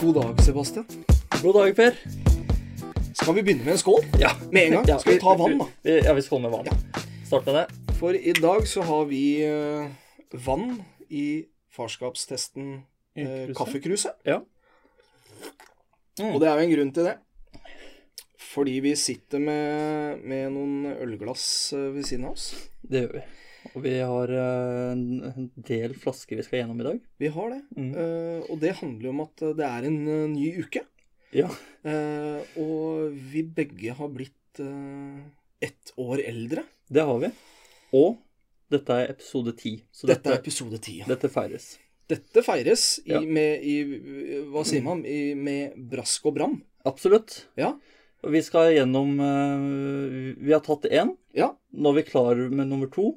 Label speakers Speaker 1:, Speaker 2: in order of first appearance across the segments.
Speaker 1: God dag, Sebastian.
Speaker 2: God dag, Per.
Speaker 1: Skal vi begynne med en skål?
Speaker 2: Ja.
Speaker 1: Med en gang.
Speaker 2: Ja,
Speaker 1: Skal vi ta vann, da?
Speaker 2: Vi, ja, vi skåler med vann. Start med det.
Speaker 1: For i dag så har vi eh, vann i farskapstesten eh,
Speaker 2: Kruset.
Speaker 1: Kaffekruset.
Speaker 2: Ja. Mm.
Speaker 1: Og det er jo en grunn til det. Fordi vi sitter med, med noen ølglass eh, ved siden av oss.
Speaker 2: Det gjør vi. Og vi har eh, en en del flasker vi skal gjennom i dag. Mm.
Speaker 1: Vi har det. Eh, og det handler jo om at det er en eh, ny uke.
Speaker 2: Ja.
Speaker 1: Eh, og vi begge har blitt eh, ett år eldre.
Speaker 2: Det har vi. Og dette er episode ti. Så
Speaker 1: Dette
Speaker 2: dette,
Speaker 1: er episode 10. Ja.
Speaker 2: dette feires.
Speaker 1: Dette feires i,
Speaker 2: Ja.
Speaker 1: med, i, hva sier man, i, med brask og bram.
Speaker 2: Absolutt.
Speaker 1: Ja.
Speaker 2: Og vi skal gjennom eh, Vi har tatt én.
Speaker 1: Ja.
Speaker 2: Nå er vi klar med nummer to.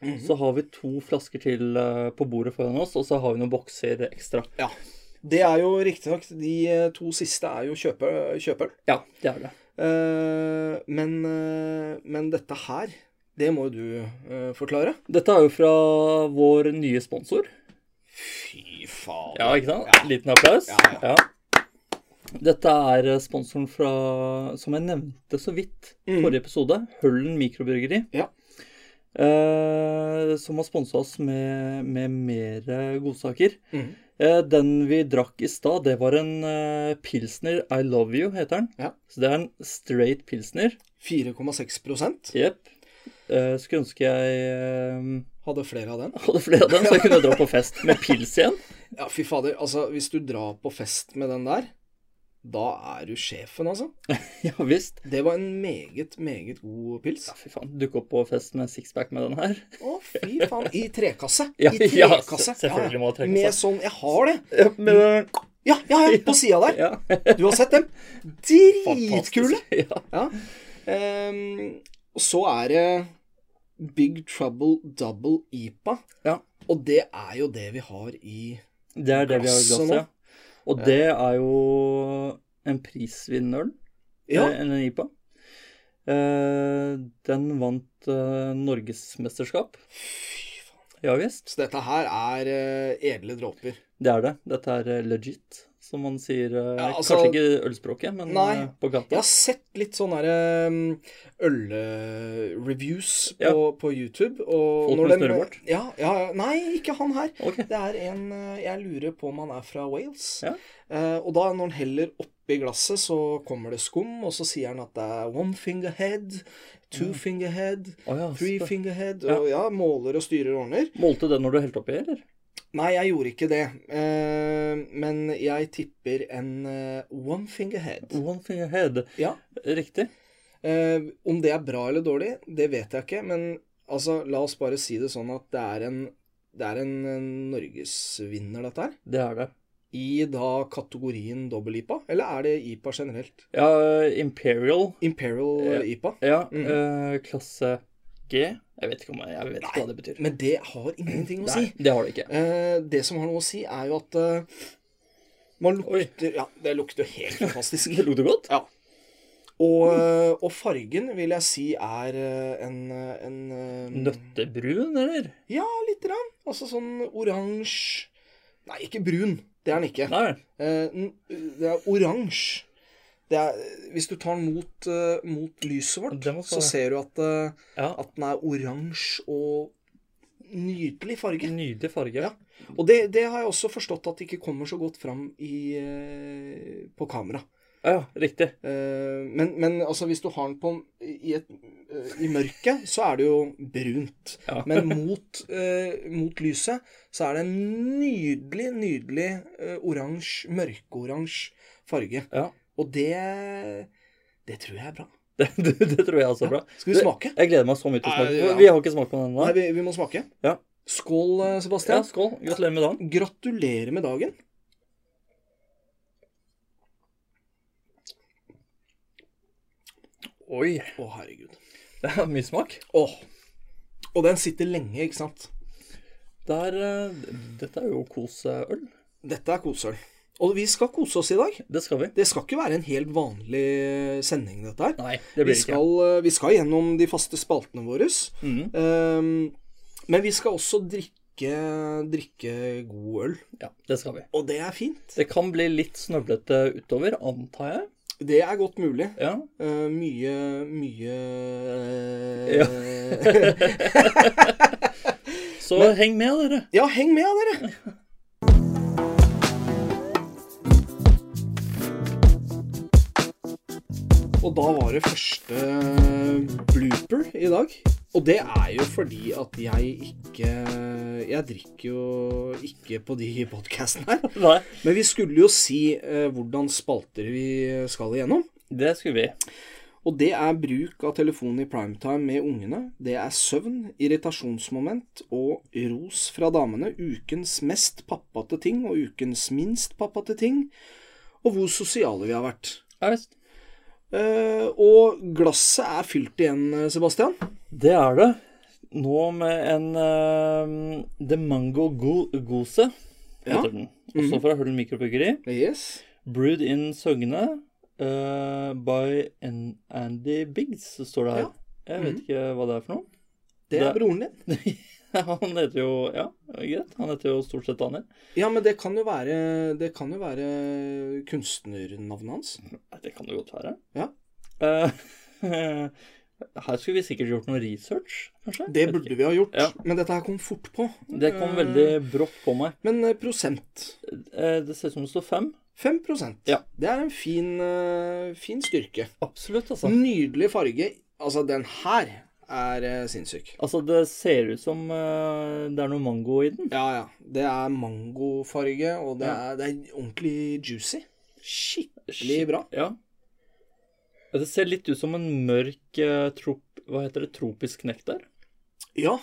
Speaker 1: Mhm.
Speaker 2: Så har vi to flasker til eh, på bordet foran oss, og så har vi noen bokser ekstra.
Speaker 1: Det er jo riktignok De eh, to siste er jo kjøpe, kjøperen.
Speaker 2: Ja, det er det.
Speaker 1: Eh, men, eh, men dette her, det må jo du eh, forklare.
Speaker 2: Dette er jo fra vår nye sponsor.
Speaker 1: Fy faen.
Speaker 2: Ja, ikke sant? Liten applaus.
Speaker 1: Ja,
Speaker 2: Ja. Dette er eh, sponsoren fra, som jeg nevnte så vidt i
Speaker 1: Mm.
Speaker 2: forrige episode, Høllen Mikroburgeri.
Speaker 1: Ja.
Speaker 2: Eh, som har sponsa oss med, med mer godsaker.
Speaker 1: Mhm.
Speaker 2: Eh, den vi drakk i stad, det var en eh, pilsner I Love You, heter den.
Speaker 1: Ja.
Speaker 2: Så det er en straight pilsner.
Speaker 1: 4,6
Speaker 2: Jepp. Eh, skulle ønske jeg eh,
Speaker 1: hadde flere av den.
Speaker 2: hadde flere av den, så jeg kunne dra på fest med pils igjen.
Speaker 1: Ja, fy fader. Altså, hvis du drar på fest med den der, da er du sjefen, altså.
Speaker 2: Ja visst.
Speaker 1: Det var en meget, meget god pils.
Speaker 2: Ja, fy faen. Dukke opp på fest med sixpack med den her.
Speaker 1: Å, fy faen. I trekasse.
Speaker 2: Ja,
Speaker 1: I
Speaker 2: ja,
Speaker 1: trekasse.
Speaker 2: se- selvfølgelig må det
Speaker 1: ja.
Speaker 2: trekkes,
Speaker 1: Med
Speaker 2: da.
Speaker 1: sånn Jeg har det.
Speaker 2: Ja, men,
Speaker 1: Ja, ja, ja. På sida der.
Speaker 2: ja.
Speaker 1: Du har sett dem. Dritkule.
Speaker 2: Ja.
Speaker 1: Ja. Ehm, og så er det Big Trouble Double IPA.
Speaker 2: Ja.
Speaker 1: Og det er jo det vi har i
Speaker 2: Det er det vi har i
Speaker 1: Glasset
Speaker 2: glasset.
Speaker 1: nå.
Speaker 2: ja. Og det er jo en prisvinnøl,
Speaker 1: Ja.
Speaker 2: eh, eller en IPA. Eh, den vant eh, norgesmesterskap.
Speaker 1: Fy faen.
Speaker 2: Ja visst.
Speaker 1: Så dette her er eh, edle dråper.
Speaker 2: Det er det. Dette er eh, legit, som man sier. eh,
Speaker 1: Ja, altså-
Speaker 2: Kanskje ikke ølspråket, men
Speaker 1: Nei.
Speaker 2: eh, på
Speaker 1: Jeg
Speaker 2: gata.
Speaker 1: har sett litt sånne der, ehm, øl-reviews på,
Speaker 2: Ja.
Speaker 1: på YouTube. Og
Speaker 2: Folk
Speaker 1: når
Speaker 2: med
Speaker 1: dem-
Speaker 2: snørrebart?
Speaker 1: Ja, ja, ja. Nei, ikke han her.
Speaker 2: Ok.
Speaker 1: Det er en eh, Jeg lurer på om han er fra Wales.
Speaker 2: Ja.
Speaker 1: Eh, og da, når han heller oppi glasset, så kommer det skum, og så sier han at det er one finger head, two finger head,
Speaker 2: Å ja,
Speaker 1: three
Speaker 2: spør-
Speaker 1: finger head og, ja. måler og styrer og ordner.
Speaker 2: Målte du den når du helte oppi, eller?
Speaker 1: Nei, jeg gjorde ikke det. Eh, men jeg tipper en eh, one finger head.
Speaker 2: One finger head.
Speaker 1: Ja.
Speaker 2: Riktig.
Speaker 1: Eh, om det er bra eller dårlig, det vet jeg ikke. Men altså, la oss bare si det sånn at det er en, det er en, en norgesvinner, dette her.
Speaker 2: Det er det.
Speaker 1: I da kategorien dobbel-IPA, eller er det IPA generelt?
Speaker 2: Ja, eh, Imperial
Speaker 1: Imperial
Speaker 2: Ja.
Speaker 1: eh, IPA.
Speaker 2: Ja,
Speaker 1: Mhm.
Speaker 2: eh, klasse G. Jeg vet ikke, om, jeg vet ikke hva det betyr.
Speaker 1: Men det har ingenting å
Speaker 2: Nei,
Speaker 1: si.
Speaker 2: det har det ikke.
Speaker 1: Eh, det som har noe å si, er jo at eh, man lukter Ja, det lukter helt fantastisk.
Speaker 2: Det lukter godt.
Speaker 1: Ja. Og, eh, og fargen vil jeg si er eh, en, eh, en eh,
Speaker 2: Nøttebrun, eller?
Speaker 1: Ja, lite grann. Altså sånn oransje Nei, ikke brun. Det er den ikke.
Speaker 2: Nei.
Speaker 1: Eh, n- det er oransje. Det er, hvis du tar den mot, eh, mot lyset vårt,
Speaker 2: Det må
Speaker 1: så
Speaker 2: stå-
Speaker 1: ser du at, eh,
Speaker 2: Ja,
Speaker 1: at den er oransje og nydelig farge.
Speaker 2: Nydelig farge.
Speaker 1: Ja. Og det, det har jeg også forstått at det ikke kommer så godt fram i, eh, på kamera.
Speaker 2: Ja, ja, riktig.
Speaker 1: Eh, men, men altså, hvis du har den på i, et, eh, i mørket, så er det jo brunt.
Speaker 2: Ja.
Speaker 1: Men mot, eh, mot lyset så er det en nydelig, nydelig eh, oransje, mørkeoransje farge.
Speaker 2: Ja.
Speaker 1: Og det Det tror jeg er bra.
Speaker 2: Det, det, det tror jeg er så bra.
Speaker 1: Skal vi smake?
Speaker 2: Jeg gleder meg så mye til å
Speaker 1: Nei,
Speaker 2: smake
Speaker 1: ja.
Speaker 2: på. Vi har ikke smakt på den
Speaker 1: Nei,
Speaker 2: ennå.
Speaker 1: vi, vi må smake.
Speaker 2: Ja.
Speaker 1: Skål, eh,
Speaker 2: Ja,
Speaker 1: Sebastian.
Speaker 2: skål. Gratulerer med dagen.
Speaker 1: Gratulerer med dagen.
Speaker 2: Oi.
Speaker 1: Å, herregud.
Speaker 2: Det er mye smak.
Speaker 1: Åh. Og den sitter lenge, ikke sant?
Speaker 2: Det er, eh, dette er jo koseøl.
Speaker 1: Dette er koseøl. Og vi skal kose oss i dag.
Speaker 2: Det skal vi.
Speaker 1: Det skal ikke være en helt vanlig eh, sending, dette her.
Speaker 2: Nei,
Speaker 1: Vi
Speaker 2: det blir det ikke.
Speaker 1: skal, eh, vi skal gjennom de faste spaltene våre.
Speaker 2: Mhm.
Speaker 1: Ehm, men vi skal også drikke drikke, drikke god øl.
Speaker 2: Ja, det skal vi.
Speaker 1: Og det er fint.
Speaker 2: Det kan bli litt snøvlete utover, antar jeg.
Speaker 1: Det er godt mulig.
Speaker 2: Ja.
Speaker 1: Eh, mye mye
Speaker 2: Ja.
Speaker 1: eh,
Speaker 2: Så heng med, dere.
Speaker 1: ja, heng med, dere! Og da var det første eh, blooper i dag. Og det er jo fordi at jeg ikke Jeg drikker jo ikke på de podkastene her.
Speaker 2: Nei,
Speaker 1: Men vi skulle jo si eh, hvordan spalter vi skal igjennom.
Speaker 2: det skulle vi.
Speaker 1: Og det er bruk av telefon i primetime med ungene. Det er søvn, irritasjonsmoment og ros fra damene. Ukens mest pappate ting og ukens minst pappate ting. Og hvor sosiale vi har vært.
Speaker 2: Ja visst.
Speaker 1: Eh, og glasset er fylt igjen, eh, Sebastian.
Speaker 2: Det er det. Nå med en eh, The Mango Go Gose,
Speaker 1: Ja.
Speaker 2: heter den. Også fra Høll Mikrobryggeri.
Speaker 1: Yes.
Speaker 2: Brewed in Søgne eh, by An Andy Biggs, står det her.
Speaker 1: Ja.
Speaker 2: Jeg vet
Speaker 1: Mhm.
Speaker 2: ikke hva det er for noe.
Speaker 1: Det er
Speaker 2: Det-
Speaker 1: broren din.
Speaker 2: han heter jo Ja, greit. Han heter jo stort sett Daniel.
Speaker 1: Ja, men det kan jo være, det kan jo være kunstnernavnet hans.
Speaker 2: Nei, Det kan det godt være.
Speaker 1: Ja.
Speaker 2: Eh, her skulle vi sikkert gjort noe research, kanskje?
Speaker 1: Det
Speaker 2: Vet
Speaker 1: burde
Speaker 2: ikke.
Speaker 1: vi ha gjort,
Speaker 2: Ja.
Speaker 1: men dette her kom fort på. Eh,
Speaker 2: Det kom veldig brått på meg.
Speaker 1: Men eh, prosent.
Speaker 2: Eh, det ser ut som det står fem.
Speaker 1: 5
Speaker 2: Ja.
Speaker 1: Det er en fin, eh, fin styrke.
Speaker 2: Absolutt, altså.
Speaker 1: Nydelig farge. Altså, den her er eh, sinnssyk.
Speaker 2: Altså, det ser ut som eh, det er noe mango i den.
Speaker 1: Ja, ja. Det er mangofarge, og det,
Speaker 2: Ja.
Speaker 1: er, det er ordentlig juicy. Skikkelig
Speaker 2: Shit.
Speaker 1: bra.
Speaker 2: Ja. Ja, Det ser litt ut som en mørk eh, trop... Hva heter det? Tropisk nektar?
Speaker 1: Ja.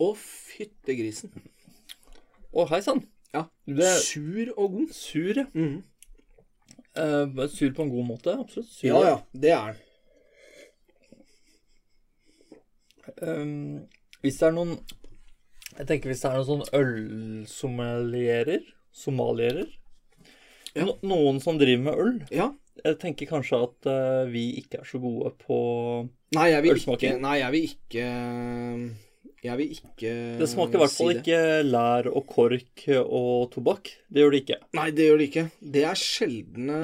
Speaker 1: Å, fyttegrisen.
Speaker 2: Å, hei sann!
Speaker 1: Ja.
Speaker 2: Det er
Speaker 1: Sur og god.
Speaker 2: sur, ja.
Speaker 1: Mhm.
Speaker 2: Eh, sur på en god måte. Absolutt. Sur.
Speaker 1: Ja, ja. Det er den.
Speaker 2: Ehm, hvis det er noen Jeg tenker hvis det er noen sånn ølsomelierer Somalierer
Speaker 1: Ja.
Speaker 2: no, Noen som driver med øl.
Speaker 1: Ja.
Speaker 2: Jeg tenker kanskje at eh, vi ikke er så gode på
Speaker 1: Nei, jeg vil ikke
Speaker 2: Ølsmaking.
Speaker 1: Nei, jeg vil ikke eh, Jeg vil ikke
Speaker 2: Det smaker i hvert
Speaker 1: Mm,
Speaker 2: fall
Speaker 1: si det.
Speaker 2: ikke lær og kork og tobakk. Det gjør det ikke.
Speaker 1: Nei, det gjør det ikke. Det er sjeldne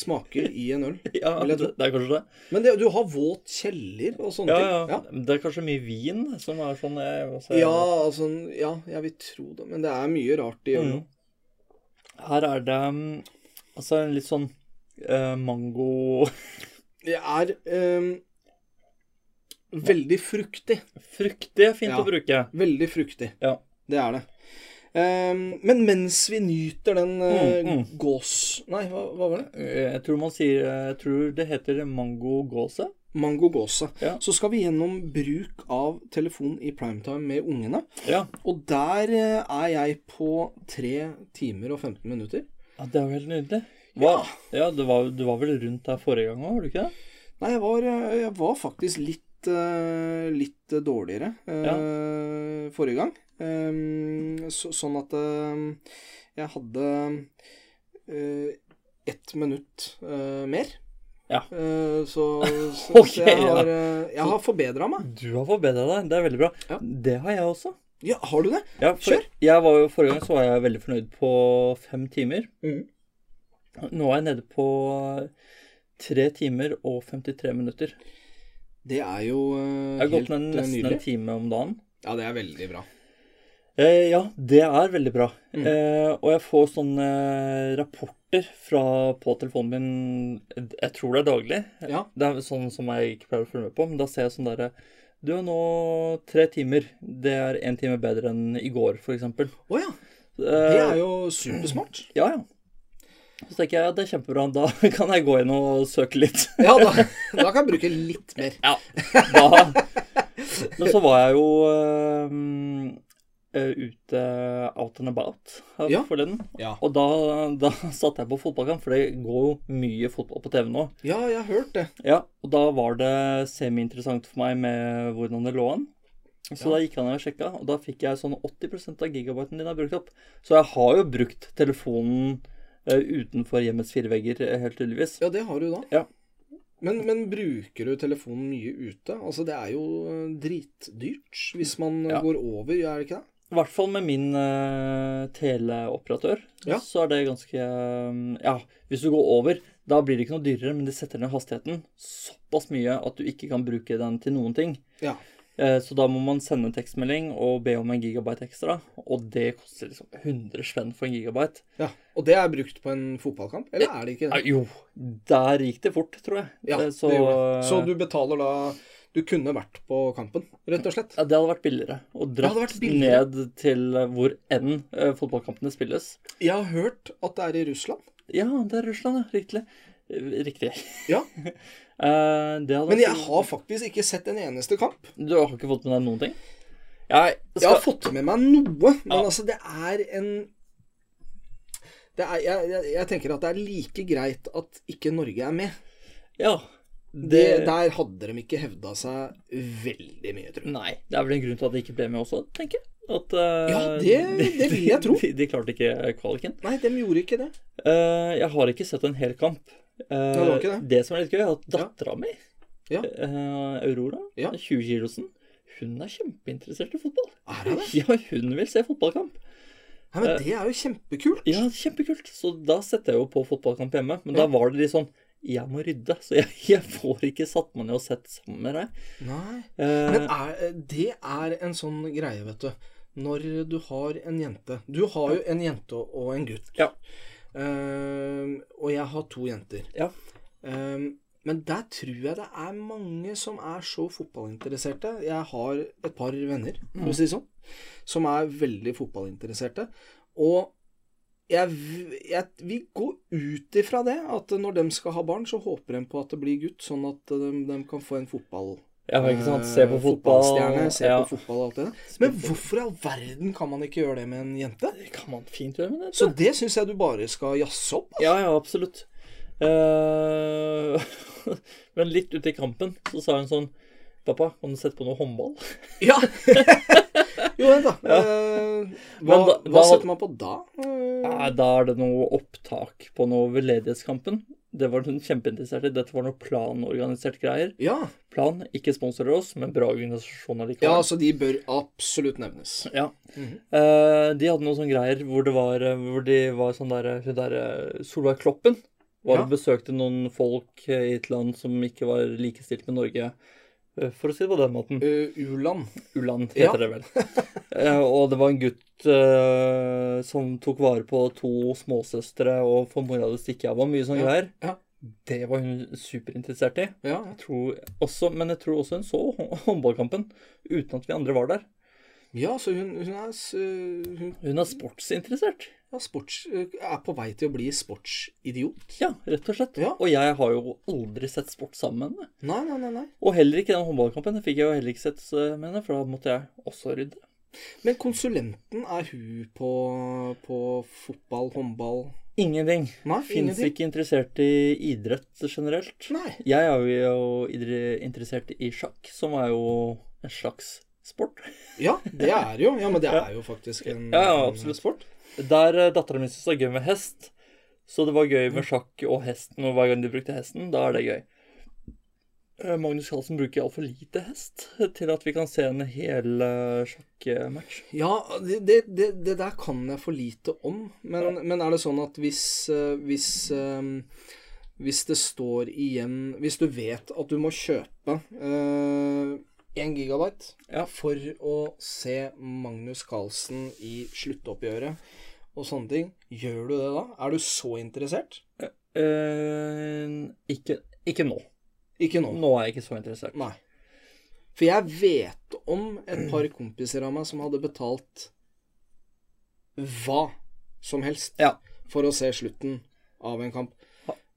Speaker 1: smaker i en øl.
Speaker 2: Ja,
Speaker 1: Vil
Speaker 2: det,
Speaker 1: jeg tro.
Speaker 2: det er kanskje det.
Speaker 1: Men det, du har våt kjeller og sånne
Speaker 2: Ja,
Speaker 1: ting.
Speaker 2: ja. Det er kanskje mye vin som er sånn eh, hva
Speaker 1: Ja.
Speaker 2: sier jeg?
Speaker 1: ja, altså Ja, jeg vil tro det. Men det er mye rart i ølen.
Speaker 2: Mm. Her er det mm, altså en litt sånn eh, mango
Speaker 1: Det er ehm, veldig fruktig.
Speaker 2: Fruktig er fint
Speaker 1: Ja.
Speaker 2: å bruke.
Speaker 1: Veldig fruktig.
Speaker 2: Ja.
Speaker 1: Det er det. Ehm, men mens vi nyter den eh,
Speaker 2: Mm,
Speaker 1: gås... Nei, hva, hva var det?
Speaker 2: Eh, Jeg tror man sier Jeg tror det heter mango gåse.
Speaker 1: Mango gåse.
Speaker 2: Ja.
Speaker 1: Så skal vi gjennom bruk av telefon i primetime med ungene.
Speaker 2: Ja.
Speaker 1: Og der eh, er jeg på 3 timer og 15 minutter.
Speaker 2: ja det er jo helt nydelig. Hva? Ja, det var, du var vel rundt der forrige gang òg, var du ikke det?
Speaker 1: Nei, jeg var, eh, jeg var faktisk litt, eh, litt dårligere eh, forrige gang. Ehm, så, sånn at eh, jeg hadde eh, ett minutt eh, mer.
Speaker 2: Ja.
Speaker 1: Eh, så, så,
Speaker 2: Ok,
Speaker 1: så jeg
Speaker 2: ja.
Speaker 1: har, eh, jeg har forbedra meg.
Speaker 2: Du har forbedra deg. Det er veldig bra.
Speaker 1: Ja.
Speaker 2: Det har jeg også.
Speaker 1: Ja, har du det?
Speaker 2: Ja, for,
Speaker 1: Kjør.
Speaker 2: jeg var jo, forrige gang så var jeg veldig fornøyd på fem timer.
Speaker 1: Mhm.
Speaker 2: Nå er jeg nede på tre timer og 53 minutter.
Speaker 1: Det er jo eh,
Speaker 2: Jeg har gått
Speaker 1: helt
Speaker 2: ned
Speaker 1: eh,
Speaker 2: nesten
Speaker 1: nydelig.
Speaker 2: en time om dagen.
Speaker 1: Ja, det er veldig bra.
Speaker 2: Eh, ja, det er veldig bra.
Speaker 1: Mm.
Speaker 2: Eh, og jeg får sånne eh, rapporter fra, på telefonen min Jeg tror det er daglig.
Speaker 1: Ja.
Speaker 2: Det er sånn som jeg ikke pleier å følge med på, men da ser jeg sånn derre Du er nå tre timer. Det er én time bedre enn i går, for eksempel.
Speaker 1: Å ja. Det
Speaker 2: Eh,
Speaker 1: er jo supersmart.
Speaker 2: ja, ja. Så tenker jeg at det er kjempebra. Da kan jeg gå inn og søke litt.
Speaker 1: Ja, da, da kan jeg bruke litt mer.
Speaker 2: Ja, da Men så var jeg jo øhm, øh, ute out and about her
Speaker 1: Ja.
Speaker 2: forleden.
Speaker 1: Ja,
Speaker 2: Og da, da satt jeg på fotballkamp, for det går jo mye fotball på TV nå.
Speaker 1: ja jeg har hørt det.
Speaker 2: Ja, Og da var det semi-interessant for meg med hvordan det lå an. Så
Speaker 1: Ja.
Speaker 2: da gikk jeg ned og sjekka, og da fikk jeg sånn 80 av gigabyten din er brukt opp. Så jeg har jo brukt eh, telefonen øh, utenfor hjemmets fire vegger, øh, eh, helt tydeligvis.
Speaker 1: Ja, det har du da. Men, men bruker du telefonen mye ute? Altså, det er jo eh, dritdyrt hvis man eh,
Speaker 2: Ja.
Speaker 1: går over, er det ikke det?
Speaker 2: I hvert fall med min eh, teleoperatør,
Speaker 1: Ja.
Speaker 2: så er det ganske eh, Ja, hvis du går over, da blir det ikke noe dyrere, men de setter ned hastigheten såpass mye at du ikke kan bruke den til noen ting.
Speaker 1: Ja.
Speaker 2: Eh, så da må man sende tekstmelding og be om en gigabyte ekstra, og det koster liksom 100 spenn for en gigabyte.
Speaker 1: ja. Og det er brukt på en fotballkamp, eller er det ikke
Speaker 2: Ja,
Speaker 1: det?
Speaker 2: jo, der gikk det fort, tror jeg.
Speaker 1: Ja,
Speaker 2: Eh,
Speaker 1: det gjorde det. Så du betaler da Du kunne vært på kampen, rett og slett?
Speaker 2: Ja, det hadde vært billigere. Og
Speaker 1: hadde
Speaker 2: dratt
Speaker 1: vært billigere.
Speaker 2: ned til hvor enn eh, fotballkampene spilles.
Speaker 1: Jeg har hørt at det er i Russland.
Speaker 2: Ja, det er Russland, ja. Riktig. Eh, Riktig.
Speaker 1: Ja.
Speaker 2: Eh, det hadde
Speaker 1: Men
Speaker 2: vært-
Speaker 1: jeg har faktisk ikke sett en eneste kamp.
Speaker 2: Du har ikke fått med deg noen ting? Jeg
Speaker 1: Jeg
Speaker 2: skal...
Speaker 1: har fått med meg noe, men
Speaker 2: Ja.
Speaker 1: altså, det er en det er, jeg, jeg, jeg tenker at det er like greit at ikke Norge er med.
Speaker 2: Ja.
Speaker 1: Det,
Speaker 2: Det-
Speaker 1: der hadde de ikke hevda seg veldig mye, tror jeg.
Speaker 2: Nei. Det er vel en grunn til at de ikke ble med også, tenker jeg. At, eh,
Speaker 1: Ja, det- det vil jeg tro.
Speaker 2: De, de klarte ikke eh, kvaliken.
Speaker 1: Nei, de gjorde ikke det.
Speaker 2: Eh, jeg har ikke sett en hel kamp. Eh,
Speaker 1: det var ikke det.
Speaker 2: som er litt gøy, er at dattera mi,
Speaker 1: Ja.
Speaker 2: eh, Aurora,
Speaker 1: Ja.
Speaker 2: 20-kilosen, hun er kjempeinteressert i fotball.
Speaker 1: Er det Eh. det?
Speaker 2: Ja, hun vil se fotballkamp.
Speaker 1: Nei, men det er jo kjempekult.
Speaker 2: Ja, kjempekult. Så da setter jeg jo på fotballkamp hjemme. Men
Speaker 1: Ja.
Speaker 2: da var det litt sånn Jeg må rydde, så jeg, jeg får ikke satt meg ned og sett sammen med deg.
Speaker 1: Nei.
Speaker 2: Eh,
Speaker 1: Men er, det er en sånn greie, vet du. Når du har en jente Du har jo en jente og en gutt.
Speaker 2: Ja.
Speaker 1: Ehm, og jeg har to jenter.
Speaker 2: Ja.
Speaker 1: Ehm, men der tror jeg det er mange som er så fotballinteresserte. Jeg har et par venner, for å
Speaker 2: Mm.
Speaker 1: si det sånn, som er veldig fotballinteresserte. Og jeg, v- jeg vil gå ut ifra det at når de skal ha barn, så håper de på at det blir gutt, sånn at de, de kan få en fotball
Speaker 2: ja, ikke sant. Se på
Speaker 1: Eh,
Speaker 2: fotball.
Speaker 1: Fotballstjerne, se
Speaker 2: ja.
Speaker 1: på fotball og alt det der. Men hvorfor i all verden kan man ikke gjøre det med en jente?
Speaker 2: Det kan man fint gjøre med det.
Speaker 1: Så det syns jeg du bare skal jazze opp.
Speaker 2: Ja, ja, absolutt. Eh, men litt ute i kampen så sa hun sånn Pappa, kan du sette på noe håndball?
Speaker 1: Ja. jo, vent, da. Eh, Hva,
Speaker 2: Men da- da-
Speaker 1: hva setter man på da? Eh,
Speaker 2: Nei, da er det noe opptak på noe veldedighetskampen. Det var hun kjempeinteressert i. Dette var noe planorganisert greier.
Speaker 1: Ja.
Speaker 2: Plan ikke sponsorer oss, men bra organisasjon
Speaker 1: ja,
Speaker 2: allikevel.
Speaker 1: så de bør absolutt nevnes.
Speaker 2: Ja.
Speaker 1: Mhm.
Speaker 2: Eh, de hadde noen sånne greier hvor det var, eh, hvor de var sånn der, hun der eh, Solveig Kloppen var
Speaker 1: Ja.
Speaker 2: og besøkte noen folk eh, i et land som ikke var likestilt med Norge. eh, For å si det på den måten.
Speaker 1: Eh, U-land.
Speaker 2: U-land
Speaker 1: Ja.
Speaker 2: heter det vel. Eh, og det var en gutt eh, som tok vare på to småsøstre og for mora til å stikke av og mye sånne
Speaker 1: Ja,
Speaker 2: greier.
Speaker 1: ja.
Speaker 2: Det var hun superinteressert i.
Speaker 1: Ja.
Speaker 2: Jeg tror også, men jeg tror også hun så hå- håndballkampen uten at vi andre var der.
Speaker 1: ja, så hun, hun er s- eh, Hun
Speaker 2: Hun er sportsinteressert.
Speaker 1: er, sports, eh, er på vei til å bli sportsidiot.
Speaker 2: Ja, rett og slett.
Speaker 1: Ja.
Speaker 2: Og jeg har jo aldri sett sport sammen med henne.
Speaker 1: Nei, nei, nei, nei.
Speaker 2: Og heller ikke den håndballkampen. Den fikk jeg jo heller ikke sett eh, med henne, for da måtte jeg også rydde.
Speaker 1: Men konsulenten, er hun på, på fotball, håndball
Speaker 2: Ingenting.
Speaker 1: Nei,
Speaker 2: Fins
Speaker 1: ingenting.
Speaker 2: ikke interessert i idrett generelt.
Speaker 1: Nei.
Speaker 2: Jeg er jo idre- interessert i sjakk, som er jo en slags sport.
Speaker 1: Ja, det er jo. Ja, men det er jo faktisk en
Speaker 2: Ja, ja, absolutt sport. Der dattera mi syntes det var gøy med hest, så det var
Speaker 1: Mm.
Speaker 2: gøy med sjakk og hesten, og hver gang de brukte hesten, da er det gøy. Eh, Magnus Carlsen bruker altfor lite hest til at vi kan se en hel eh, sjakkmatch.
Speaker 1: Ja, det, det, det, det der kan jeg for lite om. Men, men er det sånn at hvis eh, hvis, eh, hvis det står igjen Hvis du vet at du må kjøpe én gigabyte
Speaker 2: Ja.
Speaker 1: for å se Magnus Carlsen i sluttoppgjøret og sånne ting, gjør du det da? Er du så interessert?
Speaker 2: Eh, ikke, ikke nå.
Speaker 1: Ikke nå.
Speaker 2: Nå er jeg ikke så interessert.
Speaker 1: Nei. For jeg vet om et par kompiser av meg som hadde betalt hva som helst
Speaker 2: Ja.
Speaker 1: for å se slutten av en kamp.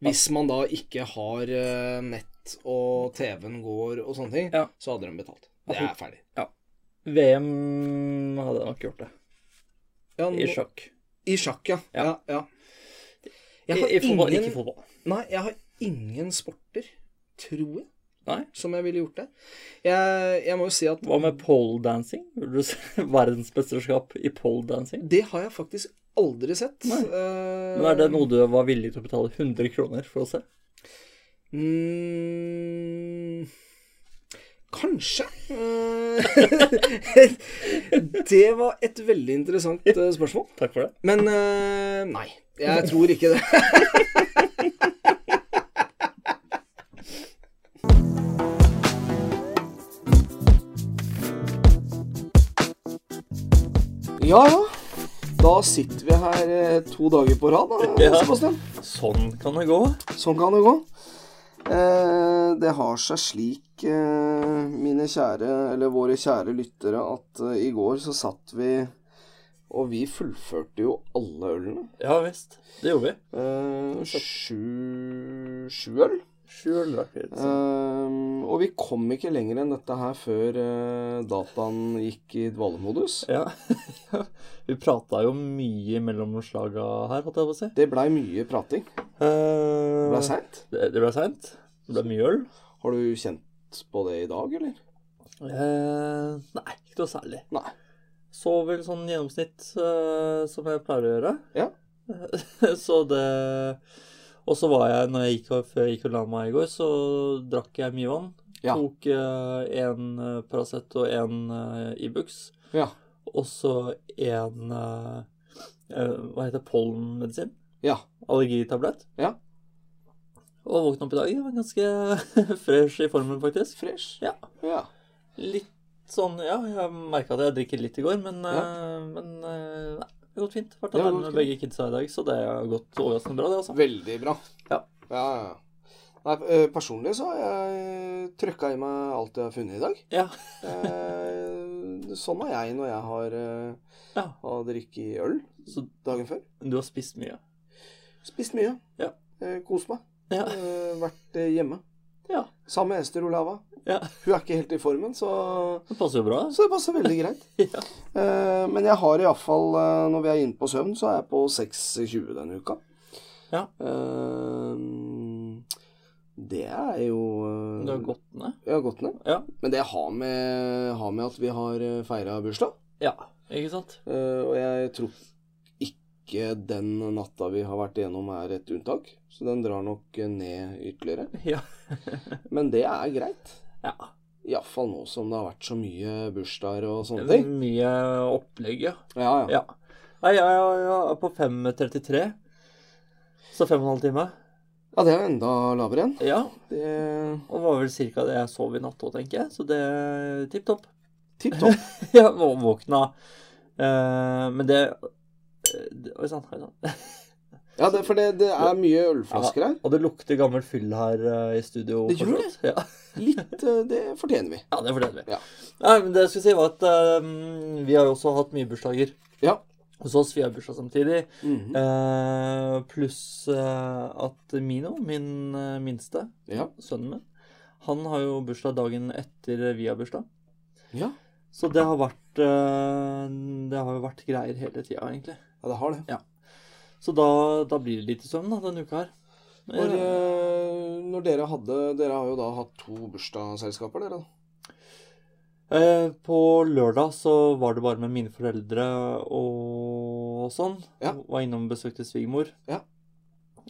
Speaker 1: Hvis man da ikke har eh, nett og TV-en går og sånne ting,
Speaker 2: Ja.
Speaker 1: så hadde de betalt. Det er ferdig.
Speaker 2: VM hadde jeg nok gjort det.
Speaker 1: Ja,
Speaker 2: I
Speaker 1: nå-
Speaker 2: sjakk.
Speaker 1: I sjakk, ja. ja. ja,
Speaker 2: I,
Speaker 1: Jeg har
Speaker 2: i fotball,
Speaker 1: ingen-
Speaker 2: ikke fotball.
Speaker 1: Nei, jeg har ingen sporter, tror jeg,
Speaker 2: Nei.
Speaker 1: som jeg ville gjort det. Jeg, jeg må jo si at
Speaker 2: Hva med poledancing? Vil du se verdensmesterskap i poledancing?
Speaker 1: det har jeg faktisk aldri sett.
Speaker 2: Nei.
Speaker 1: Eh,
Speaker 2: Men er det noe du var villig til å betale 100 kroner for å se?
Speaker 1: Mm, kanskje. Eh, det var et veldig interessant eh, spørsmål.
Speaker 2: Takk for det.
Speaker 1: Men eh, nei, jeg tror ikke det. Ja, ja. Da sitter vi her eh, to dager på rad, da,
Speaker 2: Ja.
Speaker 1: Sebastian.
Speaker 2: Sånn kan det gå.
Speaker 1: Sånn kan det gå. Eh, det har seg slik, eh, mine kjære, eller våre kjære lyttere, at eh, i går så satt vi Og vi fullførte jo alle ølene.
Speaker 2: Ja visst. Det gjorde vi.
Speaker 1: Eh, sju, sju øl.
Speaker 2: Sju ølrakker.
Speaker 1: Eh, og vi kom ikke lenger enn dette her før eh, dataen gikk i dvalemodus.
Speaker 2: Ja. vi prata jo mye mellom slaga her, holdt jeg på å si.
Speaker 1: Det blei mye prating. Det blei
Speaker 2: Eh,
Speaker 1: seint.
Speaker 2: det det ble seint. Det ble mye øl.
Speaker 1: Har du kjent på det i dag, eller?
Speaker 2: Eh, nei, ikke noe særlig.
Speaker 1: Nei.
Speaker 2: Sov vel sånn gjennomsnitt eh, som jeg pleier å gjøre.
Speaker 1: Ja.
Speaker 2: så det Og så var jeg, når jeg gikk, og- før jeg gikk og la meg i går, så drakk jeg mye vann.
Speaker 1: Ja.
Speaker 2: Tok én uh, Paracet og én Ibux.
Speaker 1: Ja.
Speaker 2: og så en eh, eh, Hva heter det? pollenmedisin?
Speaker 1: Ja.
Speaker 2: Allergitablett.
Speaker 1: Ja.
Speaker 2: Og våkna opp i dag. Jeg var ganske fresh i formen, faktisk.
Speaker 1: Fresh.
Speaker 2: Ja.
Speaker 1: ja.
Speaker 2: Litt sånn Ja, jeg merka at jeg drikker litt i går, men, eh, men eh, nei, det har gått fint. Vært
Speaker 1: Det har
Speaker 2: alene
Speaker 1: gått
Speaker 2: med begge kidsa i dag, så det har gått overraskende bra, det, altså.
Speaker 1: Veldig bra.
Speaker 2: Ja.
Speaker 1: ja, ja. Nei, eh, personlig så har jeg trøkka i meg alt jeg har funnet i dag.
Speaker 2: Ja.
Speaker 1: Eh, sånn er jeg når jeg har, eh,
Speaker 2: Ja.
Speaker 1: har drikket øl
Speaker 2: Så
Speaker 1: dagen før.
Speaker 2: du har spist mye.
Speaker 1: Spist mye.
Speaker 2: Ja.
Speaker 1: Eh, kost meg.
Speaker 2: Ja.
Speaker 1: Eh, vært eh, hjemme.
Speaker 2: Ja.
Speaker 1: Sammen med Ester Olava.
Speaker 2: ja.
Speaker 1: Hun er ikke helt i formen, så,
Speaker 2: Det passer jo bra.
Speaker 1: så det passer veldig greit.
Speaker 2: Ja.
Speaker 1: Eh, men jeg har iallfall, eh, når vi er inne på søvn, så er jeg på 6,20 denne uka.
Speaker 2: Ja.
Speaker 1: Eh, det er jo eh,
Speaker 2: Du har gått ned.
Speaker 1: Jeg har gått ned.
Speaker 2: Ja.
Speaker 1: Men det har med, har med at vi har feira bursdag.
Speaker 2: Ja, ikke sant?
Speaker 1: Eh, og jeg tror ikke den natta vi har vært igjennom, er et unntak. Så den drar nok ned ytterligere.
Speaker 2: Ja.
Speaker 1: Men det er greit.
Speaker 2: ja.
Speaker 1: Iallfall nå som det har vært så mye bursdager og sånne
Speaker 2: Det
Speaker 1: ting.
Speaker 2: er mye opplegg, ja.
Speaker 1: Ja, ja.
Speaker 2: Ja. Nei, jeg, jeg, jeg er på 5.33. Så fem og en halv time.
Speaker 1: ja, det er enda lavere igjen.
Speaker 2: Ja.
Speaker 1: Det
Speaker 2: Og var vel cirka det jeg sov i natt òg, tenker jeg. Så det er tipp topp.
Speaker 1: Tipp topp.
Speaker 2: Jeg vå- våkna eh, Men det det- Oi sann. oi sånn. sann.
Speaker 1: Ja, det, for det, det er mye ølflasker her.
Speaker 2: Og det lukter gammel fyll her eh, i studio.
Speaker 1: Det gjør
Speaker 2: fortsatt. Ja.
Speaker 1: Litt eh, Det fortjener vi.
Speaker 2: ja, det fortjener vi.
Speaker 1: Ja.
Speaker 2: Nei, men det jeg skulle si, var at eh, vi har jo også hatt mye bursdager.
Speaker 1: Ja.
Speaker 2: Hos oss, vi har bursdag samtidig.
Speaker 1: Mhm.
Speaker 2: Eh, Pluss eh, at Mino, min eh, minste,
Speaker 1: Ja.
Speaker 2: sønnen min. Han har jo bursdag dagen etter vi har bursdag.
Speaker 1: ja.
Speaker 2: Så det har vært eh, Det har jo vært greier hele tida, egentlig.
Speaker 1: Ja, det har det.
Speaker 2: Så da, da blir det lite søvn da, denne uka her.
Speaker 1: Når,
Speaker 2: Eh,
Speaker 1: eh, når dere hadde Dere har jo da hatt to bursdagsselskaper, dere. da.
Speaker 2: eh, på lørdag så var det bare med mine foreldre og sånn.
Speaker 1: Ja.
Speaker 2: Var innom og besøkte svigermor.
Speaker 1: Ja.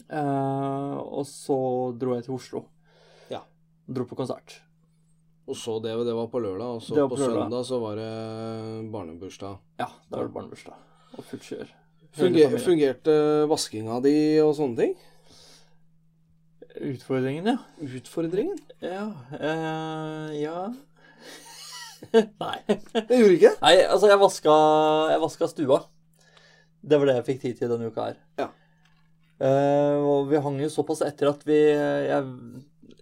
Speaker 2: Eh, og så dro jeg til Oslo.
Speaker 1: Ja.
Speaker 2: Dro på konsert.
Speaker 1: Og så det, det var på lørdag, og så
Speaker 2: Det var
Speaker 1: på,
Speaker 2: på lørdag.
Speaker 1: søndag så var det barnebursdag.
Speaker 2: Ja, da var det barnebursdag. Og fullt kjør. Hele
Speaker 1: Funger,
Speaker 2: familien.
Speaker 1: fungerte vaskinga di og sånne ting?
Speaker 2: Utfordringen, ja.
Speaker 1: Utfordringen?
Speaker 2: Ja eh, Ja Nei.
Speaker 1: Det gjorde ikke
Speaker 2: Nei, altså, jeg vaska, jeg vaska stua. Det var det jeg fikk tid til denne uka her.
Speaker 1: Ja.
Speaker 2: Eh, og vi hang jo såpass etter at vi jeg,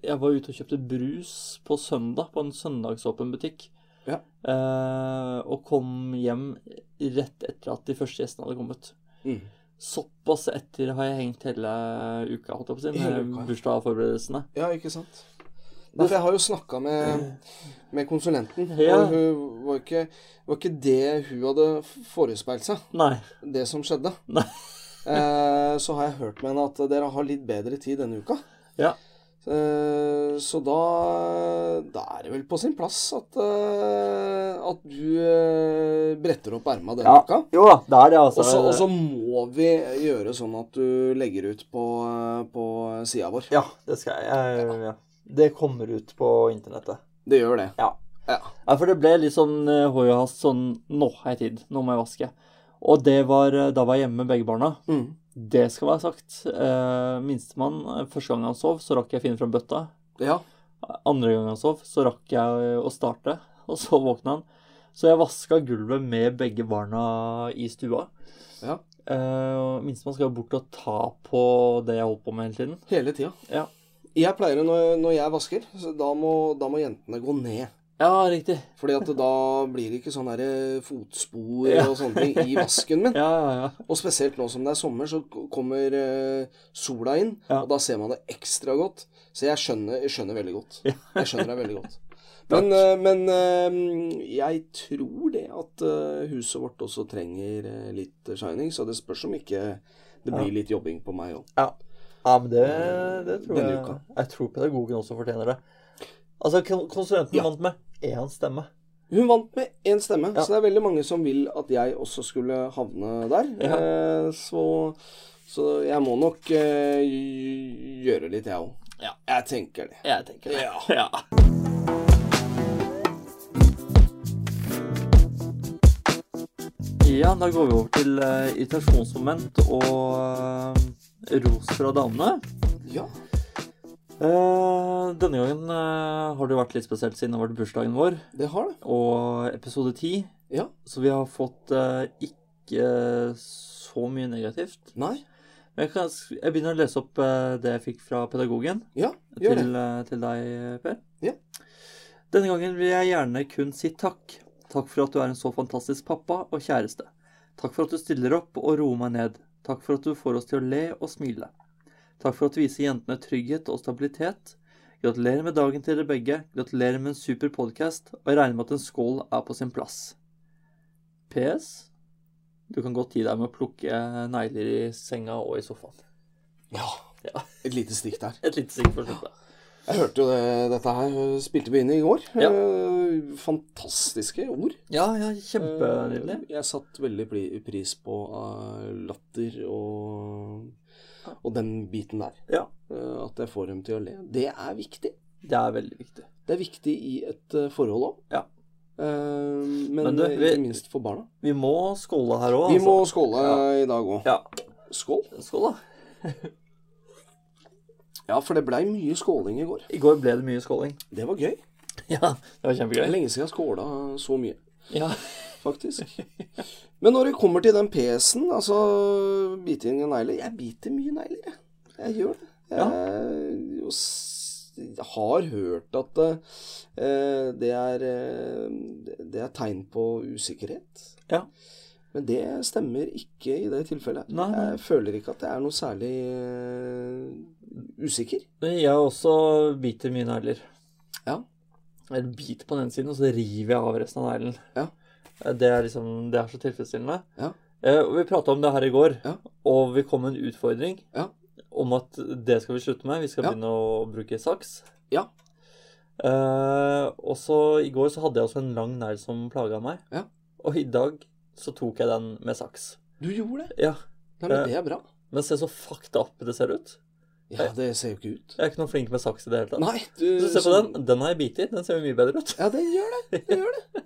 Speaker 2: jeg var ute og kjøpte brus på søndag, på en søndagsåpen butikk.
Speaker 1: Ja.
Speaker 2: Eh, og kom hjem rett etter at de første gjestene hadde kommet.
Speaker 1: Mm.
Speaker 2: Såpass etter har jeg hengt hele uka, holdt jeg på å si,
Speaker 1: Hele
Speaker 2: med
Speaker 1: uka, ja.
Speaker 2: bursdagsforberedelsene.
Speaker 1: Ja, ikke sant? Nei, for jeg har jo snakka med, med konsulenten,
Speaker 2: Ja.
Speaker 1: og hun var ikke, var ikke det hun hadde forespeilt seg,
Speaker 2: Nei.
Speaker 1: det som skjedde.
Speaker 2: Nei.
Speaker 1: Eh, så har jeg hørt med henne at dere har litt bedre tid denne uka.
Speaker 2: Ja.
Speaker 1: Så Eh, Så da, da er det vel på sin plass at, eh, at du eh, bretter opp erma denne
Speaker 2: Ja.
Speaker 1: uka.
Speaker 2: Jo da, det er det, altså.
Speaker 1: Og så og så må vi gjøre sånn at du legger ut på, eh, på sida vår.
Speaker 2: Ja, det skal jeg. jeg ja. Det kommer ut på internettet.
Speaker 1: Det gjør det.
Speaker 2: Ja.
Speaker 1: Ja.
Speaker 2: Ja, for det ble litt sånn eh, hoi og hast, sånn Nå har jeg tid, nå må jeg vaske. Og det var eh, da var jeg hjemme med begge barna.
Speaker 1: Mm.
Speaker 2: Det skal være sagt. Eh, Minstemann, eh, første gang han sov, så rakk jeg å finne fram bøtta.
Speaker 1: ja.
Speaker 2: Andre gang han sov, så rakk jeg eh, å starte, og så våkna han. Så jeg vaska gulvet med begge barna i stua.
Speaker 1: Ja.
Speaker 2: Eh, og Minstemann skal jo bort og ta på det jeg holdt på med hele tiden.
Speaker 1: Hele tida.
Speaker 2: Ja.
Speaker 1: Jeg pleier å- når, når jeg vasker, så da må, da må jentene gå ned.
Speaker 2: Ja, riktig.
Speaker 1: Fordi at da blir det ikke sånne der eh, fotspor
Speaker 2: Ja.
Speaker 1: og sånne ting i vasken min.
Speaker 2: Ja, ja, ja.
Speaker 1: Og spesielt nå som det er sommer, så k- kommer eh, sola inn,
Speaker 2: Ja.
Speaker 1: og da ser man det ekstra godt. Så jeg skjønner, jeg skjønner veldig godt.
Speaker 2: Ja.
Speaker 1: Jeg skjønner deg veldig godt. Men, eh, men eh, jeg tror det at eh, huset vårt også trenger eh, litt shining, så det spørs om ikke det blir litt jobbing på meg òg.
Speaker 2: Ja, men det, det tror
Speaker 1: Denne
Speaker 2: jeg
Speaker 1: uka.
Speaker 2: Jeg tror pedagogen også fortjener det. Altså, kon- konsulenten
Speaker 1: Ja.
Speaker 2: vant med én stemme.
Speaker 1: Hun vant med én stemme,
Speaker 2: Ja.
Speaker 1: så det er veldig mange som vil at jeg også skulle havne der.
Speaker 2: Ja.
Speaker 1: Eh, så, så jeg må nok eh, gj- gjøre litt, jeg òg.
Speaker 2: Ja.
Speaker 1: Jeg tenker det.
Speaker 2: Jeg tenker det. Ja. Ja, da går vi over til eh, irritasjonsmoment og eh, ros fra damene.
Speaker 1: Ja.
Speaker 2: Eh, denne gangen eh, har det jo vært litt spesielt siden det har vært bursdagen vår
Speaker 1: Det har det.
Speaker 2: og episode 10.
Speaker 1: Ja.
Speaker 2: Så vi har fått eh, ikke så mye negativt.
Speaker 1: Nei.
Speaker 2: Men Jeg, kan, jeg begynner å lese opp eh, det jeg fikk fra pedagogen
Speaker 1: Ja, gjør det.
Speaker 2: til, eh, til deg, Per.
Speaker 1: Ja.
Speaker 2: Denne gangen vil jeg gjerne kun si takk. Takk for at du er en så fantastisk pappa og kjæreste. Takk for at du stiller opp og roer meg ned. Takk for at du får oss til å le og smile. Takk for at du viser jentene trygghet og stabilitet. Gratulerer med dagen til dere begge. Gratulerer med en super podkast, og jeg regner med at en skål er på sin plass. PS. Du kan godt gi deg med å plukke eh, negler i senga og i sofaen.
Speaker 1: Ja.
Speaker 2: Ja.
Speaker 1: Et lite stikk der.
Speaker 2: Et lite stikk for slutt, da.
Speaker 1: Jeg hørte jo det, dette her øh, spilte vi inn i går.
Speaker 2: Ja.
Speaker 1: Øh, Fantastiske ord.
Speaker 2: Ja, ja, kjempenydelig.
Speaker 1: Øh, Jeg satte veldig pli- pris på øh, latter og, og den biten der.
Speaker 2: Ja.
Speaker 1: Øh, At jeg får dem til å le. Det er viktig.
Speaker 2: Det er veldig viktig.
Speaker 1: Det er viktig i et øh, forhold òg.
Speaker 2: Ja.
Speaker 1: men
Speaker 2: Men du,
Speaker 1: øh,
Speaker 2: vi-
Speaker 1: ikke minst for barna.
Speaker 2: Vi må skåle her òg,
Speaker 1: Vi må skåle eh,
Speaker 2: Ja.
Speaker 1: i dag òg.
Speaker 2: Ja.
Speaker 1: Skål.
Speaker 2: Skål, da.
Speaker 1: Ja, for det blei mye skåling i går.
Speaker 2: I går ble det mye skåling.
Speaker 1: Det var gøy.
Speaker 2: Ja, det
Speaker 1: Det
Speaker 2: var
Speaker 1: er
Speaker 2: kjempegøy.
Speaker 1: lenge siden jeg har skåla så mye.
Speaker 2: Ja.
Speaker 1: faktisk. Men når det kommer til den PS-en, altså biting av negler Jeg biter mye negler, jeg. Jeg gjør det. Jeg, jo s- har hørt at eh, det, er, eh, det er tegn på usikkerhet.
Speaker 2: Ja.
Speaker 1: Men det stemmer ikke i det tilfellet.
Speaker 2: Nei, nei.
Speaker 1: Jeg føler ikke at jeg er noe særlig eh, usikker.
Speaker 2: Men Jeg også biter mye negler.
Speaker 1: Ja.
Speaker 2: Jeg biter på den siden, og så river jeg av resten av neglen.
Speaker 1: Ja.
Speaker 2: Eh, Det er liksom, det er så tilfredsstillende.
Speaker 1: Ja.
Speaker 2: Eh, og vi prata om det her i går,
Speaker 1: Ja.
Speaker 2: og vi kom med en utfordring
Speaker 1: Ja.
Speaker 2: om at det skal vi slutte med. Vi skal
Speaker 1: Ja.
Speaker 2: begynne å bruke saks.
Speaker 1: Ja.
Speaker 2: Eh, og så i går så hadde jeg også en lang negl som plaga meg.
Speaker 1: Ja.
Speaker 2: Og i dag så tok jeg den med saks.
Speaker 1: Du gjorde det?
Speaker 2: Ja.
Speaker 1: Nei, men
Speaker 2: Eh.
Speaker 1: det er bra.
Speaker 2: Men se så fucked up det ser ut.
Speaker 1: Ja, det ser jo ikke ut.
Speaker 2: Jeg er ikke noe flink med saks i det hele tatt.
Speaker 1: Nei, du
Speaker 2: Så se på den. Den har jeg bitt i. Den ser jo mye bedre ut.
Speaker 1: Ja, det gjør det. det, gjør det.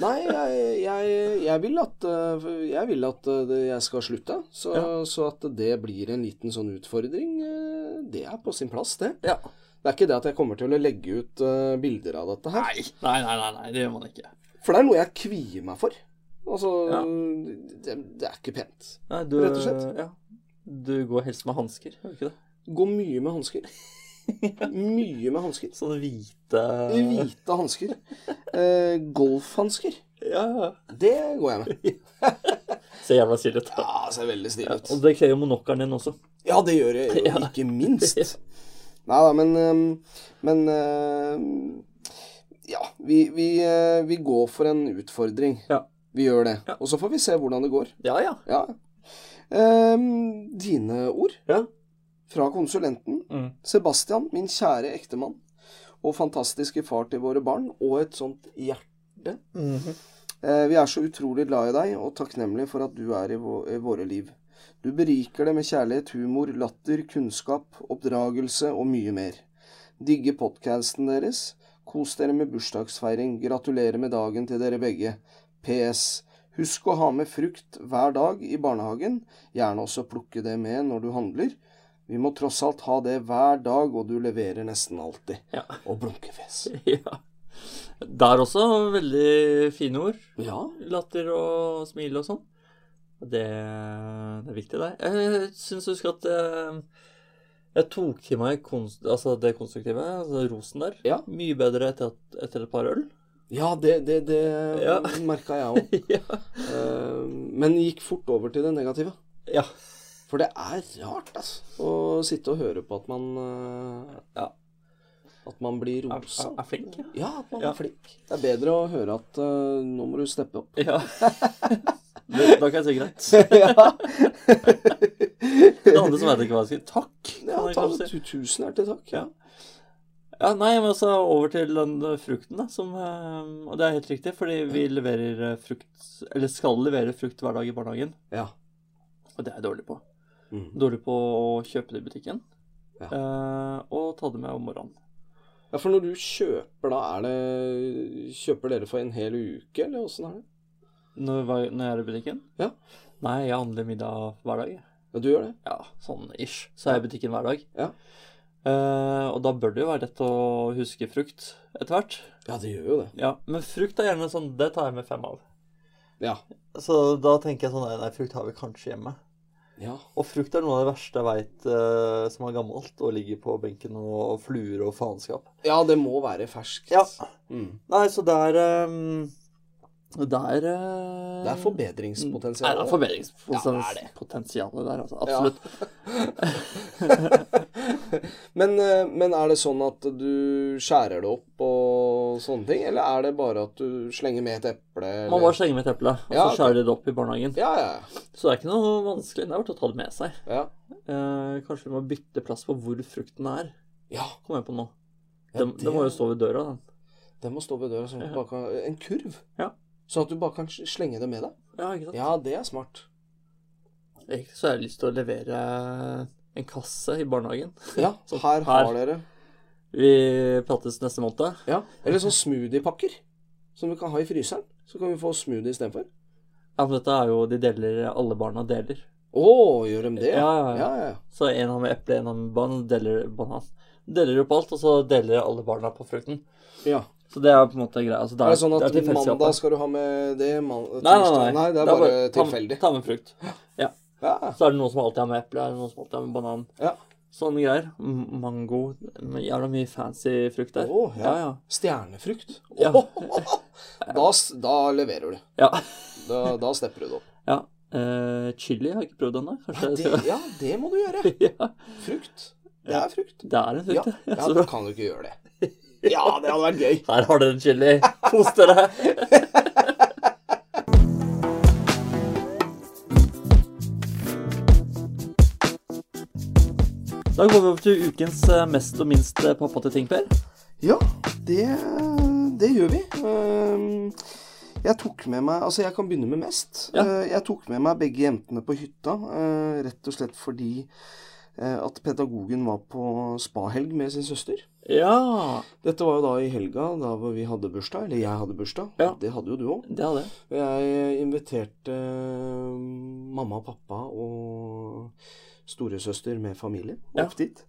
Speaker 1: Nei, jeg, jeg, jeg vil at, øh, jeg, vil at øh, det- jeg skal slutte. Så,
Speaker 2: Ja.
Speaker 1: så at det blir en liten sånn utfordring, øh, det er på sin plass, det.
Speaker 2: Ja.
Speaker 1: Det er ikke det at jeg kommer til å legge ut øh, bilder av dette her.
Speaker 2: Nei, nei, nei, nei, nei, det gjør man ikke.
Speaker 1: For det er noe jeg kvier meg for. Altså,
Speaker 2: Ja.
Speaker 1: det, det er ikke pent.
Speaker 2: Nei, du,
Speaker 1: Rett og slett.
Speaker 2: Ja. Du går helst med hansker, gjør du ikke det?
Speaker 1: Gå mye med hansker. Mye med hansker.
Speaker 2: Sånne hvite
Speaker 1: Hvite hansker. Eh, golfhansker.
Speaker 2: Ja, ja.
Speaker 1: Det går jeg med.
Speaker 2: Ser jævla stilig ut.
Speaker 1: Ja, ser veldig stilig ut.
Speaker 2: Og det kler jo monokkelen din også.
Speaker 1: Ja, det gjør jeg jo,
Speaker 2: Ja.
Speaker 1: ikke minst.
Speaker 2: Ja.
Speaker 1: Nei da, men øhm, Men øhm, ja, vi, vi, øh, vi går for en utfordring.
Speaker 2: Ja.
Speaker 1: Vi gjør det.
Speaker 2: Ja.
Speaker 1: Og så får vi se hvordan det går.
Speaker 2: Ja, ja.
Speaker 1: Ja. Øhm, dine ord
Speaker 2: Ja.
Speaker 1: fra konsulenten.
Speaker 2: Mm.
Speaker 1: Sebastian, min kjære ektemann og fantastiske far til våre barn, og et sånt hjerte. Eh, Vi er så utrolig glad i deg og takknemlige for at du er i vå- i våre liv. Du beriker det med kjærlighet, humor, latter, kunnskap, oppdragelse og mye mer. Digger podcasten deres. Kos dere med bursdagsfeiring. Gratulerer med dagen til dere begge. PS. Husk å ha med frukt hver dag i barnehagen. Gjerne også plukke det med når du handler. Vi må tross alt ha det hver dag, og du leverer nesten alltid.
Speaker 2: Ja.
Speaker 1: Og blunkefjes.
Speaker 2: ja. Der også veldig fine ord.
Speaker 1: Ja.
Speaker 2: Latter og smil og sånn. Det, det er viktig, det. Jeg syns husk at eh, jeg tok til meg kons- altså det konstruktive, altså rosen der,
Speaker 1: Ja.
Speaker 2: mye bedre etter, at, etter et par øl.
Speaker 1: Ja, det, det, det
Speaker 2: Ja.
Speaker 1: merka jeg òg.
Speaker 2: ja.
Speaker 1: Eh, Men gikk fort over til det negative.
Speaker 2: Ja.
Speaker 1: For det er rart, altså. Å sitte og høre på at man eh,
Speaker 2: Ja.
Speaker 1: At man blir
Speaker 2: Er,
Speaker 1: rosa.
Speaker 2: er, er flink, ja.
Speaker 1: Ja, at man
Speaker 2: Ja.
Speaker 1: er flink. Det er bedre å høre at eh, nå må du steppe opp.
Speaker 2: ja. Det- Da kan jeg si greit.
Speaker 1: ja.
Speaker 2: Det andre som vet ikke hva jeg skal Takk!
Speaker 1: ja,
Speaker 2: kan jeg
Speaker 1: ta
Speaker 2: kanskje si.
Speaker 1: tu- tusen hjertelig takk.
Speaker 2: Ja. Ja, nei, men altså over til den eh, frukten, da, som eh, Og det er helt riktig, fordi vi leverer eh, frukt Eller skal levere frukt hver dag i barnehagen,
Speaker 1: Ja.
Speaker 2: og det er jeg dårlig på.
Speaker 1: Mm.
Speaker 2: Dårlig på å kjøpe det i butikken,
Speaker 1: Ja.
Speaker 2: eh, og ta det med om morgenen.
Speaker 1: ja, for når du kjøper, da er det Kjøper dere for en hel uke, eller åssen er det?
Speaker 2: Når, hva- når jeg er i butikken?
Speaker 1: Ja.
Speaker 2: Nei, jeg handler middag hver dag. jeg.
Speaker 1: Ja, du gjør det?
Speaker 2: Ja, sånn ish. Så er jeg i butikken hver dag.
Speaker 1: Ja.
Speaker 2: Eh, og da bør det jo være lett å huske frukt etter hvert.
Speaker 1: Ja, det gjør jo det.
Speaker 2: Ja, men frukt er gjerne sånn Det tar jeg med fem av.
Speaker 1: Ja.
Speaker 2: Så da tenker jeg sånn nei, nei, frukt har vi kanskje hjemme.
Speaker 1: Ja.
Speaker 2: Og frukt er noe av det verste jeg veit som er gammelt og ligger på benken og fluer og faenskap.
Speaker 1: Ja, det må være ferskt.
Speaker 2: Ja.
Speaker 1: Mm.
Speaker 2: Nei, så der eh, Der eh,
Speaker 1: Det er
Speaker 2: Nei,
Speaker 1: forbedringspotensial.
Speaker 2: det Mm,
Speaker 1: Ja,
Speaker 2: er
Speaker 1: det er
Speaker 2: forbedringspotensialet der, altså. Absolutt.
Speaker 1: men, eh, men er det sånn at du skjærer det opp og sånne ting, eller er det bare at du slenger med et eple? Eller?
Speaker 2: Man bare slenger med et eple, og
Speaker 1: Ja,
Speaker 2: så skjærer de det opp i barnehagen.
Speaker 1: Ja, ja.
Speaker 2: Så det er ikke noe vanskelig. Det er bare å ta det med seg.
Speaker 1: Ja.
Speaker 2: Eh, kanskje vi må bytte plass på hvor frukten er.
Speaker 1: ja.
Speaker 2: Kommer jeg på nå.
Speaker 1: Ja,
Speaker 2: Den,
Speaker 1: det-
Speaker 2: den må jo stå ved døra, den.
Speaker 1: Den må stå ved døra sånn at du bare kan En kurv.
Speaker 2: Ja.
Speaker 1: Sånn at du bare kan slenge det med deg.
Speaker 2: Ja, ikke sant?
Speaker 1: Ja, det er smart.
Speaker 2: Egentlig så har jeg lyst til å levere en kasse i barnehagen.
Speaker 1: Ja,
Speaker 2: Så
Speaker 1: her har dere
Speaker 2: Vi prates neste måned.
Speaker 1: Ja. Eller sånn smoothiepakker som du kan ha i fryseren. Så kan vi få smoothie istedenfor.
Speaker 2: Ja, men dette er jo De deler alle barna deler.
Speaker 1: Å, gjør de det?
Speaker 2: Ja, ja, ja.
Speaker 1: ja, ja.
Speaker 2: Så en har med eple, en har med banan, deler banan. Deler opp alt, og så deler alle barna på frukten.
Speaker 1: ja.
Speaker 2: Så det er på en måte greia. Altså, det
Speaker 1: Er det sånn
Speaker 2: det
Speaker 1: at
Speaker 2: er tilfeldighet,
Speaker 1: mandag
Speaker 2: da.
Speaker 1: skal du ha med det, man,
Speaker 2: Nei, nei,
Speaker 1: tirsdag
Speaker 2: nei.
Speaker 1: det er bare, tilfeldig.
Speaker 2: Ta, ta med frukt.
Speaker 1: Ja,
Speaker 2: Så er det noen som alltid har med eple, er det noen som alltid har med banan.
Speaker 1: ja.
Speaker 2: Sånne greier. M- Mango. m- Jævla mye fancy frukt der.
Speaker 1: Å, ja.
Speaker 2: ja, ja.
Speaker 1: Stjernefrukt.
Speaker 2: Ja.
Speaker 1: Da, s- da leverer du.
Speaker 2: Ja.
Speaker 1: Da, da stepper du det opp.
Speaker 2: ja. Eh, chili har jeg ikke prøvd ennå. Kanskje jeg
Speaker 1: Det, ja, det må du gjøre.
Speaker 2: skal ja.
Speaker 1: Frukt. Det er frukt.
Speaker 2: Det er en
Speaker 1: Ja,
Speaker 2: frukt, ja.
Speaker 1: ja
Speaker 2: Så
Speaker 1: da
Speaker 2: bra.
Speaker 1: kan du ikke gjøre det. Ja, det hadde vært gøy.
Speaker 2: Her har dere en chili. Kos dere. Da går vi over til ukens eh, mest og minst eh, pappa til ting, Per.
Speaker 1: Ja, det, det gjør vi. Ehm, Jeg tok med meg Altså, jeg kan begynne med mest.
Speaker 2: Ja.
Speaker 1: Eh, Jeg tok med meg begge jentene på hytta, eh, rett og slett fordi eh, at pedagogen var på spahelg med sin søster.
Speaker 2: Ja,
Speaker 1: Dette var jo da i helga, da hvor vi hadde bursdag. Eller jeg hadde bursdag.
Speaker 2: Ja.
Speaker 1: Det hadde jo du òg.
Speaker 2: det hadde jeg.
Speaker 1: Og jeg inviterte eh, mamma og pappa og storesøster med familie
Speaker 2: Ja.
Speaker 1: opp dit.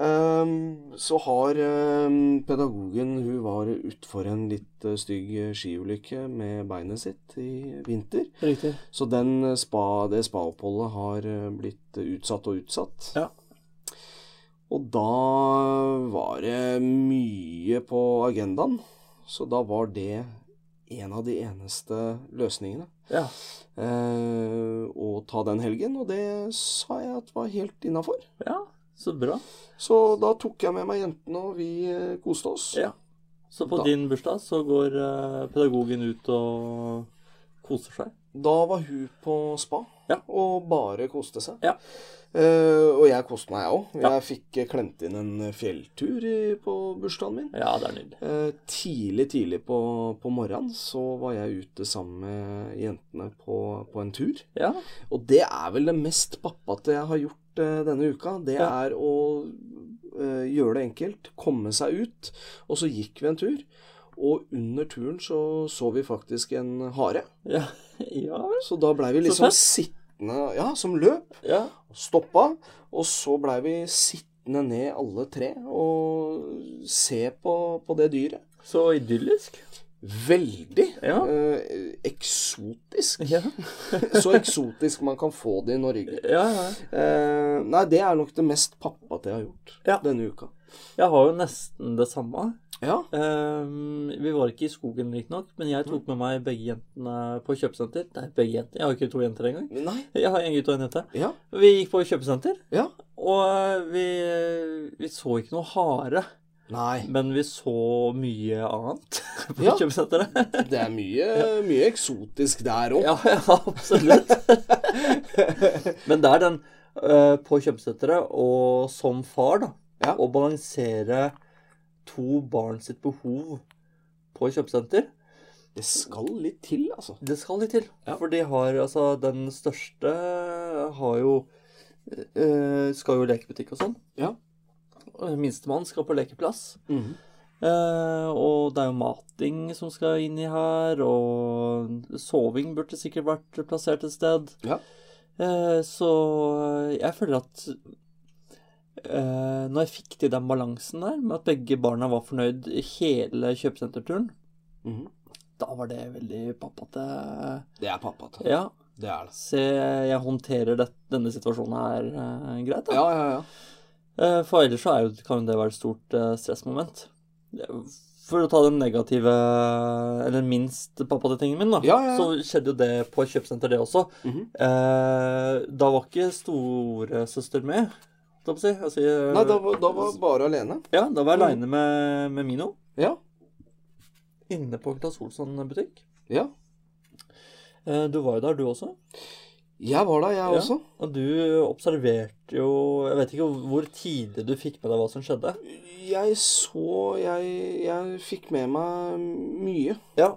Speaker 1: Ehm, så har ehm, pedagogen Hun var utfor en litt eh, stygg skiulykke med beinet sitt i vinter.
Speaker 2: Riktig.
Speaker 1: Så den eh, spa, det spaoppholdet har eh, blitt eh, utsatt og utsatt.
Speaker 2: Ja.
Speaker 1: Og da var det mye på agendaen, så da var det en av de eneste løsningene.
Speaker 2: Ja.
Speaker 1: Eh, å ta den helgen, og det sa jeg at var helt innafor.
Speaker 2: ja, så bra.
Speaker 1: Så da tok jeg med meg jentene, og vi eh, koste oss.
Speaker 2: Ja. Så på
Speaker 1: Da-
Speaker 2: din bursdag så går eh, pedagogen ut og koser seg.
Speaker 1: Da var hun på spa.
Speaker 2: Ja.
Speaker 1: og bare koste seg.
Speaker 2: Ja.
Speaker 1: Eh, og jeg koste meg, jeg òg.
Speaker 2: Ja.
Speaker 1: Jeg fikk eh, klemt inn en fjelltur i, på bursdagen min.
Speaker 2: Ja, det er nydelig.
Speaker 1: Eh, tidlig, tidlig på, på morgenen så var jeg ute sammen med jentene på, på en tur.
Speaker 2: Ja,
Speaker 1: Og det er vel det mest pappate jeg har gjort eh, denne uka. Det
Speaker 2: Ja.
Speaker 1: er å eh, gjøre det enkelt, komme seg ut. Og så gikk vi en tur. Og under turen så så vi faktisk en hare.
Speaker 2: ja, ja,
Speaker 1: Så da blei vi
Speaker 2: Så
Speaker 1: liksom
Speaker 2: fett.
Speaker 1: sittende Ja, som løp.
Speaker 2: ja.
Speaker 1: Stoppa. Og så blei vi sittende ned alle tre og se på, på det dyret.
Speaker 2: Så idyllisk.
Speaker 1: Veldig
Speaker 2: Ja.
Speaker 1: eh, eksotisk.
Speaker 2: Ja,
Speaker 1: Så eksotisk man kan få det i Norge.
Speaker 2: ja, ja.
Speaker 1: Eh, nei, det er nok det mest pappate jeg har gjort
Speaker 2: Ja.
Speaker 1: denne uka.
Speaker 2: Jeg har jo nesten det samme.
Speaker 1: Ja.
Speaker 2: Ehm, vi var ikke i skogen riktignok, men jeg tok med meg begge jentene på kjøpesenter. Nei, begge jenter. Jeg har ikke to jenter engang.
Speaker 1: Nei.
Speaker 2: Jeg har en gutt og en jente.
Speaker 1: Ja.
Speaker 2: Vi gikk på kjøpesenter,
Speaker 1: Ja.
Speaker 2: og eh, vi, vi så ikke noe hare.
Speaker 1: Nei.
Speaker 2: Men vi så mye annet på
Speaker 1: Ja.
Speaker 2: kjøpesenteret.
Speaker 1: Det er mye, mye eksotisk der òg.
Speaker 2: Ja, ja, absolutt. Men det er den eh, på kjøpesenteret, og som far, da,
Speaker 1: Ja.
Speaker 2: å balansere to barn sitt behov på kjøpesenter,
Speaker 1: Det skal litt til, altså.
Speaker 2: det skal litt til.
Speaker 1: Ja.
Speaker 2: For de har altså Den største har jo eh, Skal jo i lekebutikk og sånn.
Speaker 1: Ja.
Speaker 2: Minstemann skal på lekeplass. Eh, og det er jo mating som skal inn i her, og soving burde sikkert vært plassert et sted.
Speaker 1: Ja.
Speaker 2: Eh, så jeg føler at eh, når jeg fikk til den balansen der, med at begge barna var fornøyd i hele kjøpesenterturen,
Speaker 1: Mhm.
Speaker 2: da var det veldig pappate.
Speaker 1: Det er pappate.
Speaker 2: Ja,
Speaker 1: Det er det.
Speaker 2: se, jeg håndterer det, denne situasjonen her eh, greit, da.
Speaker 1: Ja, ja, ja.
Speaker 2: Eh, For ellers så er jo, kan jo det være et stort eh, stressmoment. For å ta den negative, eller minst pappatingen min, da,
Speaker 1: Ja, ja, ja.
Speaker 2: så skjedde jo det på kjøpesenter, det også.
Speaker 1: Mhm.
Speaker 2: Eh, da var ikke storesøster med, holdt jeg på å si. Altså, eh,
Speaker 1: Nei, da var, Mhm. da var jeg bare alene.
Speaker 2: Ja, da var jeg aleine med, med Mino
Speaker 1: Ja.
Speaker 2: inne på Claes Olsson butikk.
Speaker 1: ja.
Speaker 2: Eh, du var jo der, du også.
Speaker 1: Jeg var der, jeg
Speaker 2: Ja.
Speaker 1: også.
Speaker 2: Og du observerte jo Jeg vet ikke hvor tidlig du fikk med deg hva som skjedde.
Speaker 1: Jeg så Jeg, jeg fikk med meg mye.
Speaker 2: Ja,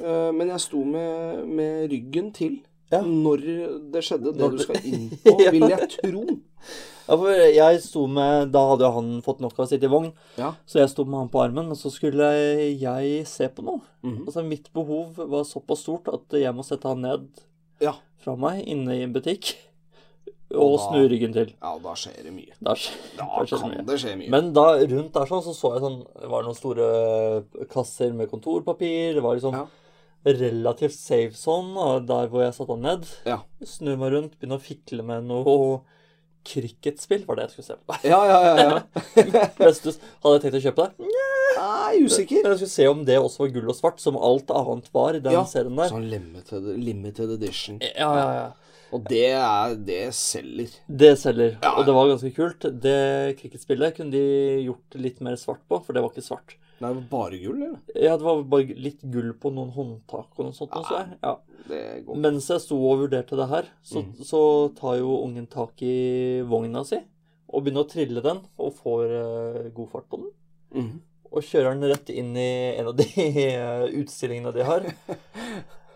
Speaker 1: Eh, Men jeg sto med, med ryggen til
Speaker 2: Ja.
Speaker 1: når det skjedde. Det
Speaker 2: Når
Speaker 1: du
Speaker 2: det-
Speaker 1: skal inn på,
Speaker 2: Ja.
Speaker 1: vil jeg tro.
Speaker 2: Ja, for jeg sto med Da hadde jo han fått nok av å sitte i vogn,
Speaker 1: Ja.
Speaker 2: så jeg sto med han på armen. Men så skulle jeg se på noe.
Speaker 1: Mhm.
Speaker 2: Altså, mitt behov var såpass stort at jeg må sette han ned
Speaker 1: ja.
Speaker 2: fra meg inne i en butikk
Speaker 1: Og
Speaker 2: og
Speaker 1: da-
Speaker 2: snu ryggen til.
Speaker 1: Ja, da skjer det mye.
Speaker 2: Da skj-
Speaker 1: Da
Speaker 2: da skjer det
Speaker 1: kan
Speaker 2: mye.
Speaker 1: det skje mye.
Speaker 2: Men da rundt der sånn, så så jeg sånn Det var noen store eh, kasser med kontorpapir. Det var liksom
Speaker 1: Ja.
Speaker 2: relativt safe sånn, og der hvor jeg satte han ned.
Speaker 1: Ja.
Speaker 2: Snur meg rundt, begynner å fikle med noe cricketspill, var det jeg skulle se på.
Speaker 1: Ja, ja, ja. ja.
Speaker 2: Vestus, hadde jeg tenkt å kjøpe det.
Speaker 1: Nei, usikker.
Speaker 2: Men jeg skulle se om det også var gull og svart, som alt annet var i den
Speaker 1: Ja.
Speaker 2: serien der.
Speaker 1: Sånn limited, limited edition.
Speaker 2: Ja, ja, ja.
Speaker 1: Og det er Det selger.
Speaker 2: Det selger, og det var ganske kult. Det cricketspillet kunne de gjort litt mer svart på, for det var ikke svart.
Speaker 1: Nei, bare gull, eller?
Speaker 2: Ja, det var bare litt gull på noen håndtak og noe sånt. og så jeg. Ja.
Speaker 1: Det går
Speaker 2: Mens jeg sto og vurderte det her, så,
Speaker 1: Mm.
Speaker 2: så tar jo ungen tak i vogna si og begynner å trille den, og får eh, god fart på den.
Speaker 1: Mhm.
Speaker 2: og kjører den rett inn i en av de eh, utstillingene de har.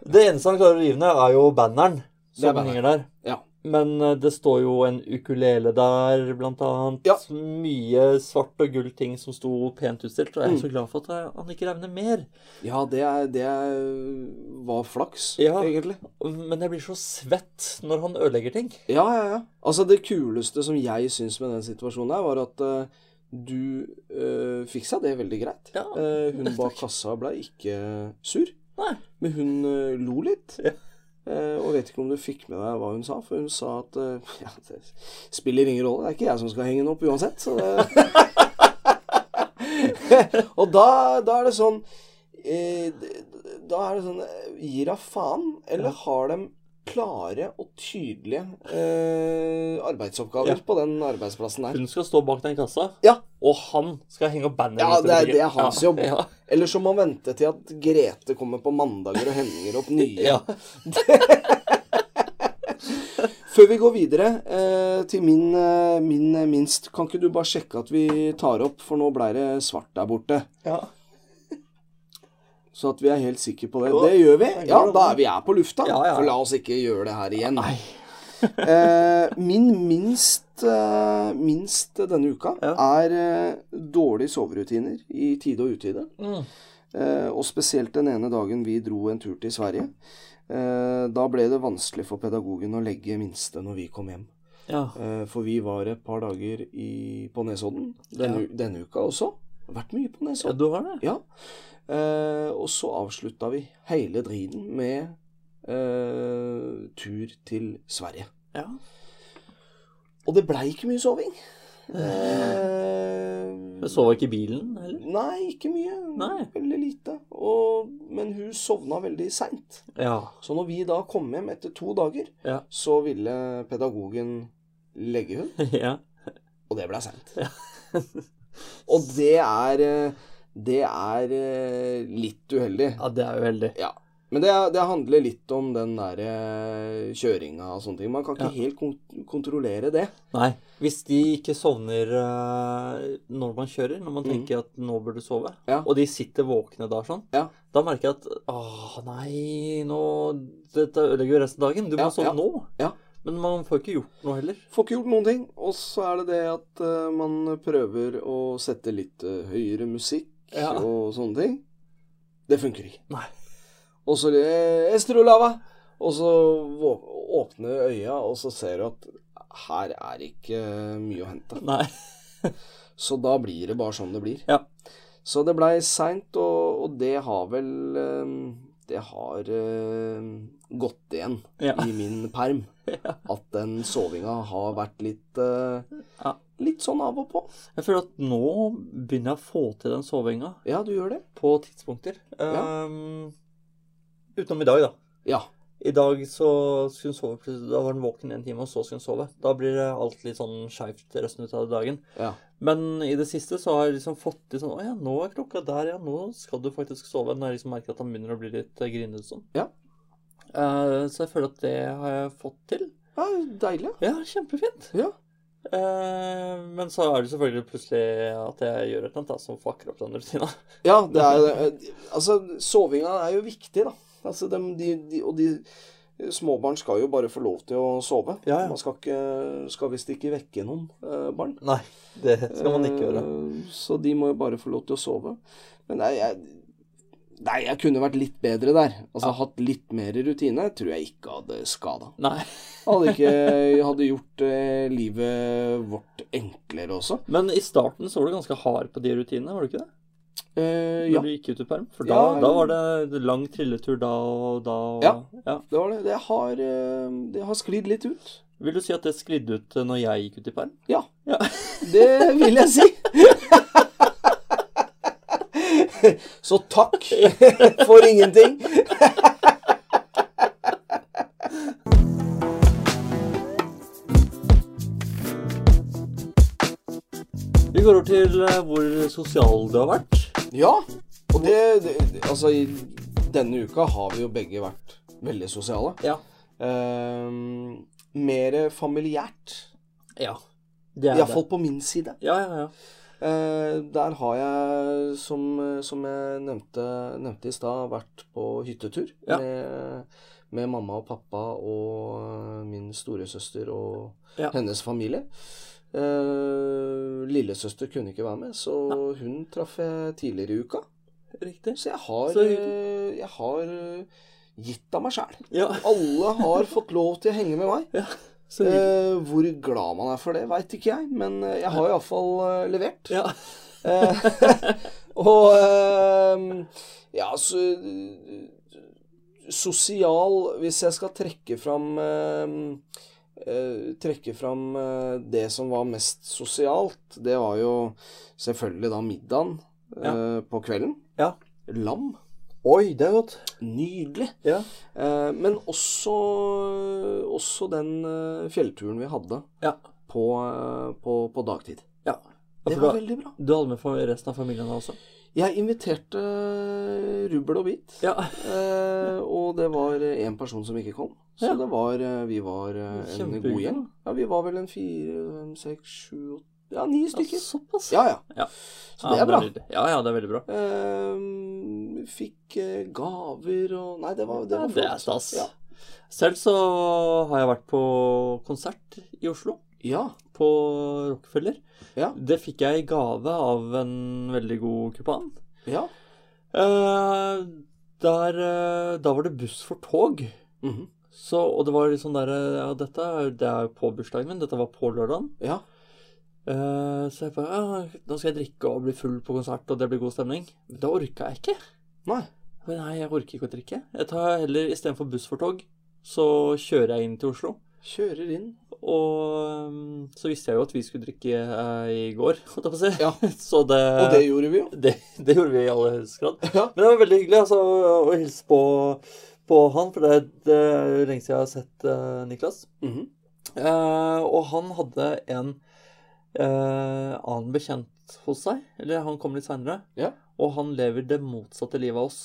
Speaker 2: Det eneste han klarer å rive ned, er jo banneren
Speaker 1: Det er
Speaker 2: som
Speaker 1: banneren.
Speaker 2: henger der.
Speaker 1: Ja.
Speaker 2: Men eh, det står jo en ukulele der, blant annet.
Speaker 1: Ja.
Speaker 2: Mye svart og gull ting som sto pent utstilt. Og jeg
Speaker 1: Mm.
Speaker 2: er så glad for at han ikke revner mer.
Speaker 1: Ja, det, er, det er, var flaks,
Speaker 2: Ja.
Speaker 1: egentlig.
Speaker 2: Men jeg blir så svett når han ødelegger ting.
Speaker 1: Ja, ja, ja. Altså, det kuleste som jeg syns med den situasjonen her, var at eh, du uh, fiksa det veldig greit.
Speaker 2: Ja.
Speaker 1: Eh, hun bak kassa ble ikke sur,
Speaker 2: Nei.
Speaker 1: men hun eh, lo litt.
Speaker 2: Ja.
Speaker 1: Eh, og vet ikke om du fikk med deg hva hun sa, for hun sa at eh, ja, det spiller ingen rolle, det er ikke jeg som skal henge den opp uansett, så det Og da, da er det sånn eh, Da er det sånn eh, Gir da faen, eller har dem klare og tydelige eh, arbeidsoppgaver på den arbeidsplassen der.
Speaker 2: Hun skal stå bak den kassa,
Speaker 1: Ja.
Speaker 2: og han skal henge opp banneren.
Speaker 1: Ja,
Speaker 2: i
Speaker 1: det er,
Speaker 2: butikken.
Speaker 1: det er hans
Speaker 2: Ja,
Speaker 1: jobb.
Speaker 2: Ja,
Speaker 1: Eller så må han vente til at Grete kommer på mandager og henger opp nye.
Speaker 2: ja.
Speaker 1: Før vi går videre eh, til min, eh, min eh, minst, kan ikke du bare sjekke at vi tar opp, for nå ble det svart der borte.
Speaker 2: Ja.
Speaker 1: Så at vi er helt sikre på det. Det gjør vi. Ja, da er vi er på lufta.
Speaker 2: Ja, ja.
Speaker 1: For la oss ikke gjøre det her igjen. eh, min minst, eh, minst denne uka er eh, dårlige soverutiner i tide og utide.
Speaker 3: Mm.
Speaker 1: Eh, og spesielt den ene dagen vi dro en tur til Sverige. Eh, da ble det vanskelig for pedagogen å legge minste når vi kom hjem.
Speaker 2: ja.
Speaker 1: Eh, for vi var et par dager i, på Nesodden denne, denne uka også. Det har vært mye på Nesodden.
Speaker 2: du har det?
Speaker 1: Ja. Eh, og så avslutta vi hele driten med eh, tur til Sverige.
Speaker 2: Ja.
Speaker 1: Og det blei ikke mye soving. Eh,
Speaker 2: Men sov ikke i bilen heller?
Speaker 1: nei, ikke mye.
Speaker 2: Nei.
Speaker 1: Veldig lite. Og, men hun sovna veldig seint.
Speaker 2: Ja.
Speaker 1: Så når vi da kom hjem etter to dager,
Speaker 2: Ja.
Speaker 1: så ville pedagogen legge hun,
Speaker 2: ja.
Speaker 1: og det blei seint. og det er eh, Det er eh, litt uheldig.
Speaker 2: Ja, det er jo heldig.
Speaker 1: Ja. Men det, det handler litt om den der eh, kjøringa og sånne ting. Man kan ikke helt kon kontrollere det.
Speaker 2: Nei. Hvis de ikke sovner eh, når man kjører, når man tenker at nå bør du sove,
Speaker 1: Mm. Ja.
Speaker 2: og de sitter våkne da sånn,
Speaker 1: Ja.
Speaker 2: da merker jeg at åh, nei, nå Dette ødelegger jo resten av dagen. Du må
Speaker 1: Ja,
Speaker 2: sove
Speaker 1: ja.
Speaker 2: nå.
Speaker 1: Ja.
Speaker 2: Men man får ikke gjort noe heller.
Speaker 1: Får ikke gjort noen ting. Og så er det det at eh, man prøver å sette litt eh, høyere musikk
Speaker 2: Ja.
Speaker 1: og sånne ting. Det funker ikke.
Speaker 2: Nei.
Speaker 1: Og så eh, Estrolava! Og så vå- åpner øya, og så ser du at her er ikke eh, mye å hente.
Speaker 2: Nei.
Speaker 1: Så da blir det bare sånn det blir.
Speaker 2: Ja.
Speaker 1: Så det blei seint, og, og det har vel eh, Det har eh, gått igjen
Speaker 2: Ja.
Speaker 1: i min perm. At den sovinga har vært litt eh,
Speaker 2: Ja.
Speaker 1: Litt sånn av og på.
Speaker 2: Jeg føler at nå begynner jeg å få til den sovinga
Speaker 1: Ja, du gjør det?
Speaker 2: på tidspunkter.
Speaker 1: Ja.
Speaker 2: Ehm, utenom i dag, da.
Speaker 1: Ja.
Speaker 2: I dag så skulle hun sove plutselig. Da var hun våken en time, og så skulle hun sove. Da blir det alt litt sånn skeivt resten ut av dagen.
Speaker 1: Ja.
Speaker 2: Men i det siste så har jeg liksom fått litt sånn Å ja, nå er klokka der, ja. Nå skal du faktisk sove. Når jeg liksom merker at han begynner å bli litt eh, grinete sånn.
Speaker 1: Ja.
Speaker 2: Eh, så jeg føler at det har jeg fått til.
Speaker 1: ja deilig.
Speaker 2: Ja, kjempefint.
Speaker 1: Ja.
Speaker 2: Eh, men så er det selvfølgelig plutselig at jeg gjør et eller annet da, som fucker opp den rutina.
Speaker 1: Ja, det er eh, Altså, sovinga er jo viktig, da. Altså, dem, de, de, og de Småbarn skal jo bare få lov til å sove.
Speaker 2: Ja, ja.
Speaker 1: Man skal, ikke- skal visst ikke vekke noen eh, barn.
Speaker 2: Nei, det skal man ikke gjøre.
Speaker 1: Eh, Så de må jo bare få lov til å sove. Men nei, jeg, nei, jeg kunne vært litt bedre der. Altså hatt litt mer rutine tror jeg ikke hadde skada.
Speaker 2: Nei.
Speaker 1: Hadde ikke hadde gjort eh, livet vårt enklere også.
Speaker 2: Men i starten så var du ganske hard på de rutinene, var du ikke det?
Speaker 1: Eh,
Speaker 2: Når
Speaker 1: ja,
Speaker 2: du gikk ut i perm? For da,
Speaker 1: Ja.
Speaker 2: da var det lang trilletur da og da og
Speaker 1: Ja.
Speaker 2: ja.
Speaker 1: det var det. Det har, eh, det har sklidd litt ut.
Speaker 2: Vil du si at det sklidde ut eh, når jeg gikk ut i perm?
Speaker 1: Ja.
Speaker 2: Ja.
Speaker 1: Det vil jeg si. Så takk for ingenting.
Speaker 2: Vi går over til eh, hvor sosial du har vært.
Speaker 1: Ja, og det, det Altså, i denne uka har vi jo begge vært veldig sosiale.
Speaker 2: Ja.
Speaker 1: Ehm, mer familiært.
Speaker 2: Ja. Det er
Speaker 1: Iallfall på min side.
Speaker 2: det. Ja, ja, ja.
Speaker 1: Eh, der har jeg, som, som jeg nevnte, nevnte i stad, vært på hyttetur
Speaker 2: Ja.
Speaker 1: med, med mamma og pappa og eh, min storesøster og
Speaker 2: Ja.
Speaker 1: hennes familie. Eh, lillesøster kunne ikke være med, så hun traff jeg tidligere i uka.
Speaker 2: Riktig.
Speaker 1: Så jeg har,
Speaker 2: Så
Speaker 1: eh, jeg har eh, gitt av meg sjæl.
Speaker 2: Ja.
Speaker 1: Alle har fått lov til å henge med meg.
Speaker 2: Så hyggelig.
Speaker 1: Eh, hvor glad man er for det, veit ikke jeg, men eh, jeg har iallfall uh, levert.
Speaker 2: Ja.
Speaker 1: Eh, og eh, ja, så eh, Sosial Hvis jeg skal trekke fram eh, eh, Trekke fram eh, det som var mest sosialt, det var jo selvfølgelig da middagen eh, på kvelden.
Speaker 2: Ja.
Speaker 1: Lam.
Speaker 2: Oi, det er godt.
Speaker 1: Nydelig.
Speaker 2: Ja.
Speaker 1: Eh, men også, også den eh, fjellturen vi hadde
Speaker 2: Ja.
Speaker 1: på, eh, på, på dagtid.
Speaker 2: ja.
Speaker 1: Det
Speaker 2: for
Speaker 1: var
Speaker 2: da-
Speaker 1: veldig bra.
Speaker 2: Du hadde med fa- resten av familien da også?
Speaker 1: Jeg inviterte rubbel og bit,
Speaker 2: Ja.
Speaker 1: eh, og det var én person som ikke kom. Så
Speaker 2: Ja.
Speaker 1: det var eh, Vi var eh, en
Speaker 2: Kjempehyggelig.
Speaker 1: god gjeng. Ja, vi var vel en fire, fem, seks, sju åt- Ja, ni
Speaker 2: Ja,
Speaker 1: stykker.
Speaker 2: såpass.
Speaker 1: Ja, ja.
Speaker 2: Ja.
Speaker 1: Så det er bra.
Speaker 2: nydelig. Ja, ja, det er veldig bra.
Speaker 1: Eh, fikk eh, gaver og Nei, det var, det
Speaker 2: Ja,
Speaker 1: var
Speaker 2: det
Speaker 1: flott.
Speaker 2: er stas.
Speaker 1: Ja.
Speaker 2: Selv så har jeg vært på konsert i Oslo,
Speaker 1: ja.
Speaker 2: på Rockefeller.
Speaker 1: Ja.
Speaker 2: Det fikk jeg i gave av en veldig god kupan.
Speaker 1: Ja.
Speaker 2: Eh, der, eh, da var det buss for tog.
Speaker 1: Mhm.
Speaker 2: Så, og det var litt sånn der eh, ja, Dette er- det er jo på bursdagen min. Dette var på lørdagen.
Speaker 1: ja.
Speaker 2: Eh, så jeg bare ja, Nå skal jeg drikke og bli full på konsert, og det blir god stemning. Det orka jeg ikke.
Speaker 1: Nei.
Speaker 2: Men nei, jeg orker ikke å drikke. Jeg tar heller istedenfor buss for tog, så kjører jeg inn til Oslo.
Speaker 1: Kjører inn.
Speaker 2: Og um, så visste jeg jo at vi skulle drikke eh, i går, holdt jeg på å si.
Speaker 1: Ja.
Speaker 2: Så det,
Speaker 1: Og det gjorde vi jo.
Speaker 2: det, det gjorde vi i aller høyeste grad.
Speaker 1: Ja.
Speaker 2: Men det var veldig hyggelig altså, å hilse på, på han, for det er det er lenge siden jeg har sett eh, Niklas.
Speaker 1: Mhm.
Speaker 2: Eh, og han hadde en eh, annen bekjent hos seg, eller han kom litt seinere,
Speaker 1: Ja.
Speaker 2: og han lever det motsatte livet av oss.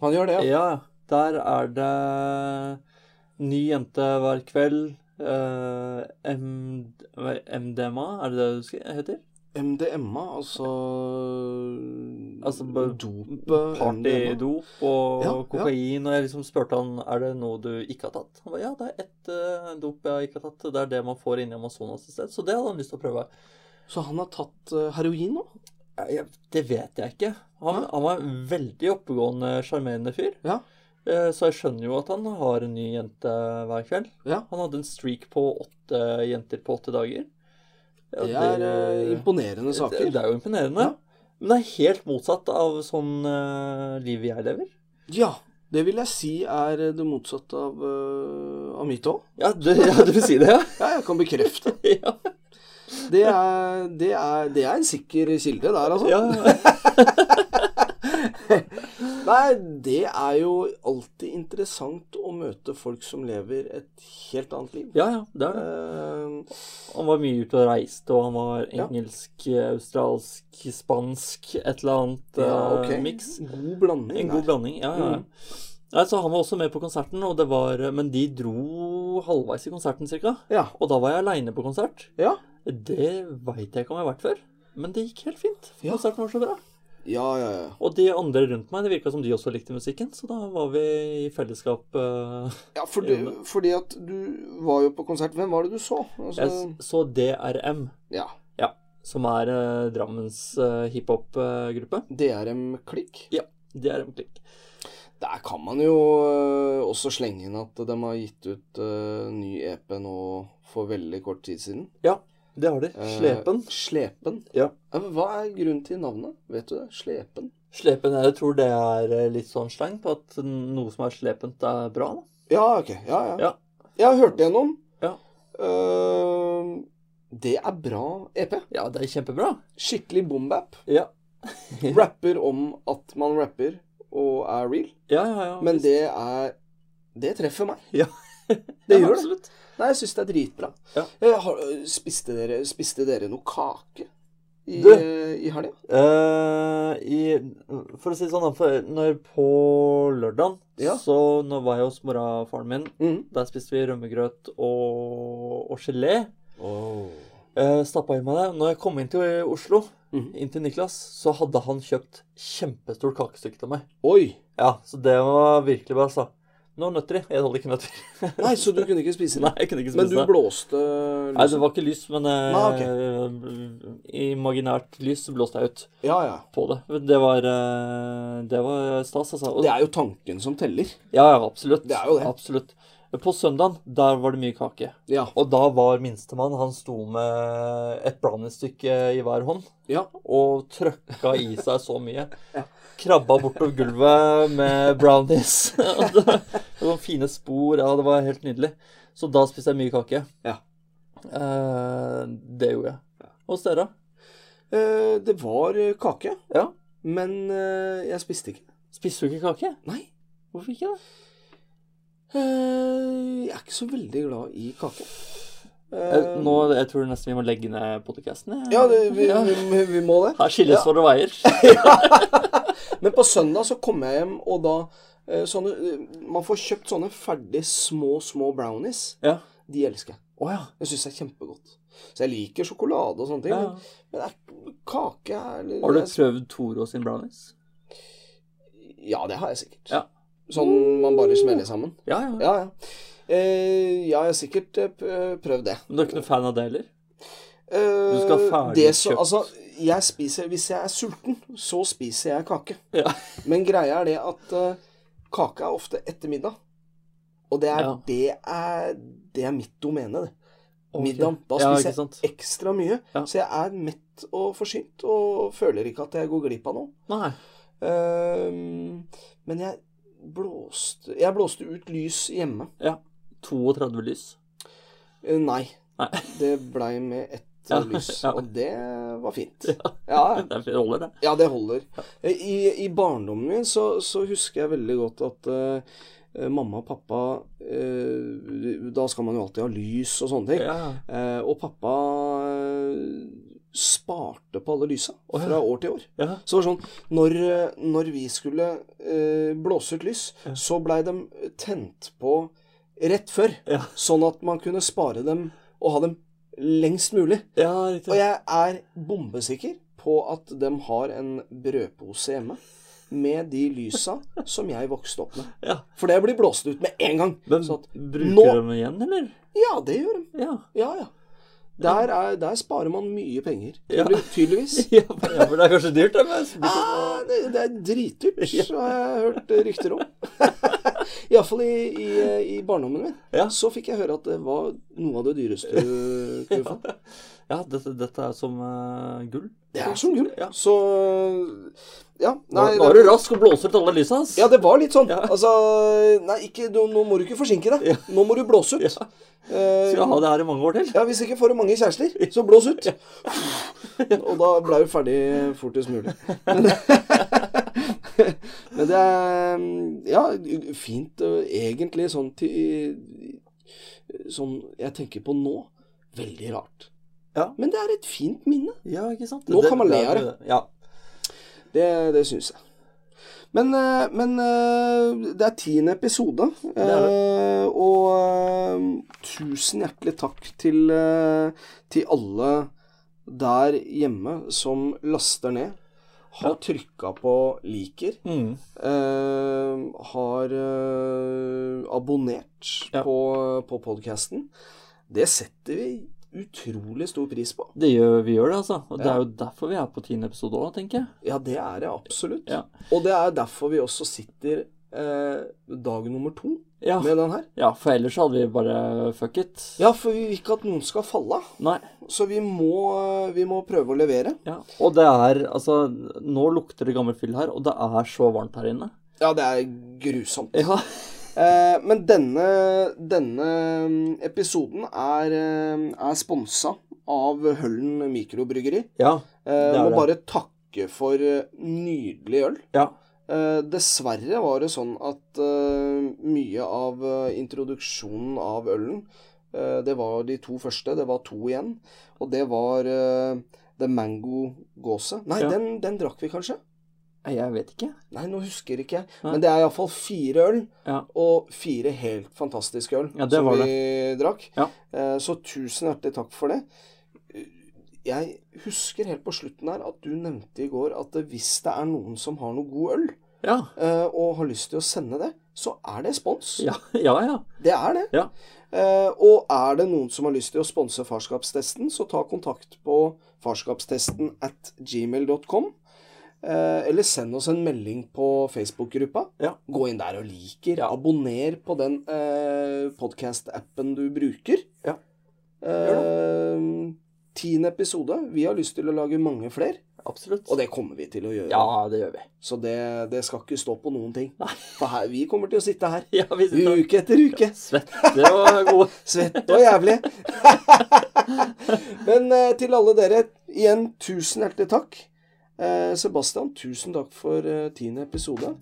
Speaker 1: Han gjør det, ja.
Speaker 2: Ja, der er det ny jente hver kveld. eh, M- MDMA, er det det du skal- heter?
Speaker 1: Eh, MDMA, altså
Speaker 2: Altså, bare
Speaker 1: dop MDMA.
Speaker 2: Partydop og
Speaker 1: Ja, ja.
Speaker 2: kokain. Og jeg liksom spurte han er det noe du ikke har tatt. Han ba, ja, det er ett eh, dop jeg ikke har tatt. Det er det man får inne i Amazonas et sted. Så det hadde han lyst til å prøve.
Speaker 1: Så han har tatt eh, heroin nå?
Speaker 2: Jeg- jeg- Det vet jeg ikke. Han,
Speaker 1: Nei.
Speaker 2: han var en veldig oppegående, sjarmerende fyr.
Speaker 1: Ja.
Speaker 2: Eh, Så jeg skjønner jo at han har en ny jente hver kveld.
Speaker 1: Ja.
Speaker 2: Han hadde en streak på åtte jenter på åtte dager. Ja,
Speaker 1: Det er eh, imponerende
Speaker 2: Det,
Speaker 1: saker.
Speaker 2: det er jo imponerende.
Speaker 1: Ja.
Speaker 2: Men det er helt motsatt av sånn uh, liv jeg lever.
Speaker 1: Ja. Det vil jeg si er eh, det motsatte av, eh, av mitt òg.
Speaker 2: Ja, du, ja, du vil si det, ja?
Speaker 1: Ja, jeg kan bekrefte.
Speaker 2: ja.
Speaker 1: Det er, det er, det er en sikker kilde der, altså.
Speaker 2: ja.
Speaker 1: Nei, det er jo alltid interessant å møte folk som lever et helt annet liv.
Speaker 2: Ja, ja, det er det.
Speaker 1: Eh,
Speaker 2: Han var mye ute og reiste, og han var
Speaker 1: Ja.
Speaker 2: engelsk, eh, australsk, spansk, et eller annet ja,
Speaker 1: ja, ok.
Speaker 2: miks.
Speaker 1: God blanding.
Speaker 2: En eh, god
Speaker 1: der.
Speaker 2: blanding, ja. ja.
Speaker 1: Mm.
Speaker 2: Nei, så han var også med på konserten, og det var, men de dro halvveis i konserten cirka.
Speaker 1: Ja.
Speaker 2: Og da var jeg aleine på konsert.
Speaker 1: Ja.
Speaker 2: Det veit jeg ikke om jeg har vært før, men det gikk helt fint.
Speaker 1: Ja.
Speaker 2: Konserten var så bra.
Speaker 1: ja, ja, ja.
Speaker 2: Og de andre rundt meg, det virka som de også likte musikken, så da var vi i fellesskap. eh,
Speaker 1: Ja, for du,
Speaker 2: Gjorde.
Speaker 1: fordi at du var jo på konsert. Hvem var det du så? Altså,
Speaker 2: Jeg s- så DRM,
Speaker 1: ja,
Speaker 2: som er eh, Drammens eh, hiphop-gruppe.
Speaker 1: DRM Klikk.
Speaker 2: DRM Klikk.
Speaker 1: Der kan man jo øh, også slenge inn at de har gitt ut øh, ny EP nå for veldig kort tid siden.
Speaker 2: Det har de.
Speaker 1: Eh,
Speaker 2: Slepen.
Speaker 1: Slepen.
Speaker 2: Ja.
Speaker 1: men Hva er grunnen til navnet? Vet du det? Slepen.
Speaker 2: Slepen, jeg tror det er eh, litt sånn sleng på at noe som er slepent, er bra. Da.
Speaker 1: Ja, ok. Ja, ja.
Speaker 2: Ja.
Speaker 1: Jeg har hørt gjennom.
Speaker 2: Ja.
Speaker 1: Eh, det er bra E EP.
Speaker 2: Ja, det er kjempebra.
Speaker 1: Skikkelig bombap.
Speaker 2: Ja.
Speaker 1: Rapper om at man rapper og er real.
Speaker 2: Ja, ja, ja.
Speaker 1: Men det er Det treffer meg.
Speaker 2: Ja.
Speaker 1: Det gjør det.
Speaker 2: absolutt.
Speaker 1: Nei, jeg syns det er dritbra.
Speaker 2: Ja.
Speaker 1: Jeg har, spiste, dere, spiste dere noe kake i,
Speaker 2: Du.
Speaker 1: i helga?
Speaker 2: Eh, i, for å si det sånn, da, for når på lørdagen
Speaker 1: Ja.
Speaker 2: Så nå var jeg hos mora og faren min.
Speaker 1: Mm.
Speaker 2: Der spiste vi rømmegrøt og, og gelé.
Speaker 1: Oh.
Speaker 2: Uh, Stappa i meg det. Når jeg kom inn til Oslo,
Speaker 1: Mhm.
Speaker 2: inn til Niklas, så hadde han kjøpt kjempestort kakestykke til meg.
Speaker 1: Oi!
Speaker 2: Ja, så det var virkelig bra, altså. Nå nøtter de. Jeg hadde ikke nøtter.
Speaker 1: Nei, så du kunne ikke spise det?
Speaker 2: Nei, jeg kunne ikke
Speaker 1: Men
Speaker 2: spise
Speaker 1: du Ah,
Speaker 2: det.
Speaker 1: blåste
Speaker 2: Nei, det
Speaker 1: lyset?
Speaker 2: var ikke lys, men eh,
Speaker 1: Nei,
Speaker 2: imaginært lys så blåste jeg ut
Speaker 1: Ja, ja.
Speaker 2: på det. Men Det var, eh, det var stas, altså. Og-
Speaker 1: Det er jo tanken som teller.
Speaker 2: Ja, ja, absolutt.
Speaker 1: Det er jo det.
Speaker 2: Absolutt. På søndagen, der var det mye kake.
Speaker 1: Ja.
Speaker 2: Og da var minstemann, han sto med et browniestykke i hver hånd
Speaker 1: Ja.
Speaker 2: og trøkka i seg så mye. Krabba bortover gulvet med brownies. Og det det var fine spor. Ja, det var helt nydelig. Så da spiste jeg mye kake.
Speaker 1: Ja.
Speaker 2: Eh, det gjorde jeg. Hos dere?
Speaker 1: Eh, det var eh, kake,
Speaker 2: Ja.
Speaker 1: men eh, jeg spiste ikke.
Speaker 2: Spiste du ikke kake?
Speaker 1: Nei.
Speaker 2: Hvorfor ikke det?
Speaker 1: Eh, jeg er ikke så veldig glad i kake. Eh,
Speaker 2: Jeg- Nå, jeg tror nesten vi må legge ned podcasten. jeg.
Speaker 1: Ja, det, vi, vi, vi må det.
Speaker 2: Her skilles
Speaker 1: Ja.
Speaker 2: våre veier.
Speaker 1: Men på søndag så kommer jeg hjem, og da eh, sånne, eh, Man får kjøpt sånne ferdig små, små brownies.
Speaker 2: Ja.
Speaker 1: De elsker jeg.
Speaker 2: Å ja.
Speaker 1: Jeg syns det er kjempegodt. Så jeg liker sjokolade og sånne ting.
Speaker 2: ja.
Speaker 1: men- Men det er kake er eller-
Speaker 2: Har du
Speaker 1: jeg-
Speaker 2: prøvd Toro sin brownies?
Speaker 1: Ja, det har jeg sikkert.
Speaker 2: Ja.
Speaker 1: Sånn man bare smeller sammen.
Speaker 2: Ja, ja.
Speaker 1: Ja, ja. Eh, ja, jeg har sikkert eh, p- prøvd det.
Speaker 2: Men du er ikke noe fan av det heller?
Speaker 1: Eh,
Speaker 2: Du skal ha
Speaker 1: det som-
Speaker 2: ferdigkjøpt.
Speaker 1: Altså, jeg spiser, hvis jeg er sulten, så spiser jeg kake.
Speaker 2: Ja.
Speaker 1: Men greia er det at eh, kake er ofte etter middag. Og det er,
Speaker 2: Ja.
Speaker 1: det er, det er mitt domene, det.
Speaker 2: Ok.
Speaker 1: Middagen. Da
Speaker 2: ja,
Speaker 1: spiser
Speaker 2: ikke sant?
Speaker 1: jeg ekstra mye.
Speaker 2: Ja.
Speaker 1: Så jeg er mett og forsynt og føler ikke at jeg går glipp av noe.
Speaker 2: Nei.
Speaker 1: Ehm, men jeg blåste, jeg blåste ut lys hjemme.
Speaker 2: 32 lys.
Speaker 1: Eh, Nei.
Speaker 2: Nei.
Speaker 1: Det blei med ett
Speaker 2: Ja,
Speaker 1: eh, lys,
Speaker 2: ja.
Speaker 1: og det var fint. Ja,
Speaker 2: Det er fint holder, det.
Speaker 1: ja det holder. Eh, I, i barndommen min så, så husker jeg veldig godt at eh, eh, mamma og pappa eh, Da skal man jo alltid ha lys og sånne ting.
Speaker 2: Ja.
Speaker 1: Eh, og pappa eh, sparte på alle lysa
Speaker 2: Å, ja.
Speaker 1: fra år til år.
Speaker 2: ja.
Speaker 1: Så det var sånn, når, eh, når vi skulle eh, blåse ut lys,
Speaker 2: Ja.
Speaker 1: så blei de tent på rett før.
Speaker 2: Ja.
Speaker 1: Sånn at man kunne spare dem og ha dem lengst mulig.
Speaker 2: ja
Speaker 1: Og
Speaker 2: riktig.
Speaker 1: jeg er bombesikker på at de har en brødpose hjemme med de lysa som jeg vokste opp med.
Speaker 2: Ja.
Speaker 1: For det blir blåst ut med en gang.
Speaker 2: Men
Speaker 1: Så sånn at,
Speaker 2: bruker
Speaker 1: nå-
Speaker 2: de dem igjen, eller?
Speaker 1: ja, det gjør de.
Speaker 2: Ja.
Speaker 1: Ja, ja. Der, er, der sparer man mye penger.
Speaker 2: Ja.
Speaker 1: Tydelig, tydeligvis.
Speaker 2: ja, for ja, for det er kanskje dyrt, det. men jeg blir så-
Speaker 1: Ah, det, det er dritdyrt, har jeg hørt rykter om. Iallfall i, i, i barndommen min.
Speaker 2: Ja.
Speaker 1: Så fikk jeg høre at det var noe av det dyreste du kunne få.
Speaker 2: Ja, dette, dette er som eh, gull.
Speaker 1: Det er som gull.
Speaker 2: Ja.
Speaker 1: Så Ja.
Speaker 2: Nå,
Speaker 1: Nei,
Speaker 2: nå er du rask og blåser ut alle lysa hans.
Speaker 1: ja, det var litt sånn.
Speaker 2: Ja.
Speaker 1: Altså Nei, ikke, nå, nå må du ikke forsinke deg.
Speaker 2: Ja.
Speaker 1: Nå må du blåse ut.
Speaker 2: Ja.
Speaker 1: Eh,
Speaker 2: Skal jeg ha det her i mange år til?
Speaker 1: ja, Hvis ikke får du mange kjærester, så blås ut. Og da ble du ferdig fortest mulig. Men, men det er ja, fint øh, egentlig sånn til Sånn jeg tenker på nå. Veldig rart.
Speaker 2: Ja.
Speaker 1: Men det er et fint minne.
Speaker 2: Ja, ikke sant?
Speaker 1: Nå kan man le av
Speaker 2: Ja.
Speaker 1: Det, det syns jeg. Men, eh, men eh, det er tiende episode.
Speaker 2: er det.
Speaker 1: eh, Og eh, tusen hjertelig takk til, eh, til alle der hjemme som laster ned. Har
Speaker 2: Ja.
Speaker 1: trykka på liker.
Speaker 2: Mm.
Speaker 1: eh, har eh, abonnert
Speaker 2: Ja.
Speaker 1: på, på podkasten. Det setter vi utrolig stor pris på.
Speaker 2: Det gjør, vi gjør det, altså. Og det
Speaker 1: Ja.
Speaker 2: er jo derfor vi er på tiende episode òg, tenker jeg.
Speaker 1: Ja, det er det absolutt.
Speaker 2: Ja.
Speaker 1: Og det er derfor vi også sitter eh, dag nummer to
Speaker 2: Ja.
Speaker 1: med den her.
Speaker 2: ja, for ellers hadde vi bare fuck it.
Speaker 1: Ja, for vi vil ikke at noen skal falle av.
Speaker 2: Nei.
Speaker 1: Så vi må, eh, vi må prøve å levere.
Speaker 2: Ja. Og det er altså Nå lukter det gammel fyll her, og det er så varmt her inne.
Speaker 1: Ja, det er grusomt.
Speaker 2: Ja.
Speaker 1: Eh, men denne, denne mm, episoden er, eh, er sponsa av Høllen mikrobryggeri.
Speaker 2: Ja.
Speaker 1: Eh,
Speaker 2: Det er
Speaker 1: må
Speaker 2: det.
Speaker 1: bare takke for eh, nydelig øl.
Speaker 2: Ja.
Speaker 1: Eh, dessverre var det sånn at eh, mye av eh, introduksjonen av ølen eh, Det var de to første. Det var to igjen. Og det var eh, The Mango Gåse. Nei,
Speaker 2: Ja.
Speaker 1: den, den drakk vi kanskje?
Speaker 2: Nei, Jeg vet ikke.
Speaker 1: Nei, nå husker ikke jeg.
Speaker 2: Nei.
Speaker 1: Men det er iallfall fire øl,
Speaker 2: Ja.
Speaker 1: og fire helt fantastiske øl
Speaker 2: Ja, det
Speaker 1: som
Speaker 2: var
Speaker 1: vi drakk.
Speaker 2: Ja.
Speaker 1: Eh, Så tusen hjertelig takk for det. Jeg husker helt på slutten her at du nevnte i går at eh, hvis det er noen som har noe god øl,
Speaker 2: Ja.
Speaker 1: eh, og har lyst til å sende det, så er det spons.
Speaker 2: Ja, ja. ja.
Speaker 1: Det er det.
Speaker 2: Ja.
Speaker 1: Eh, og er det noen som har lyst til å sponse farskapstesten, så ta kontakt på farskapstesten at gmail.com. Eh, eller send oss en melding på Facebook-gruppa.
Speaker 2: Ja.
Speaker 1: Gå inn der og liker. Abonner på den eh, podcast-appen du bruker.
Speaker 2: Ja.
Speaker 1: Eh, tiende episode. Vi har lyst til å lage mange flere,
Speaker 2: Absolutt.
Speaker 1: og det kommer vi til å gjøre.
Speaker 2: Ja, det gjør vi.
Speaker 1: Så det, det skal ikke stå på noen ting. For her, vi kommer til å sitte her
Speaker 2: Ja, vi sitter
Speaker 1: uke etter uke.
Speaker 2: og svetter og er gode.
Speaker 1: Svett og jævlig. Men eh, til alle dere, igjen tusen hjertelig takk. Eh, Sebastian, tusen takk for eh, tiende episode.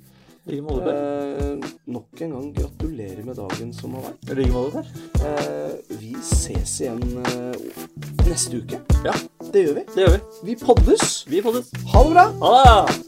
Speaker 2: I like måte, Per.
Speaker 1: Eh, nok en gang gratulerer med dagen som har vært.
Speaker 2: I like måte, Per.
Speaker 1: Eh, vi ses igjen eh, neste uke.
Speaker 2: Ja.
Speaker 1: Det gjør vi.
Speaker 2: Det gjør vi.
Speaker 1: Vi poddes.
Speaker 2: Vi poddes.
Speaker 1: Ha det bra!
Speaker 2: Ha det!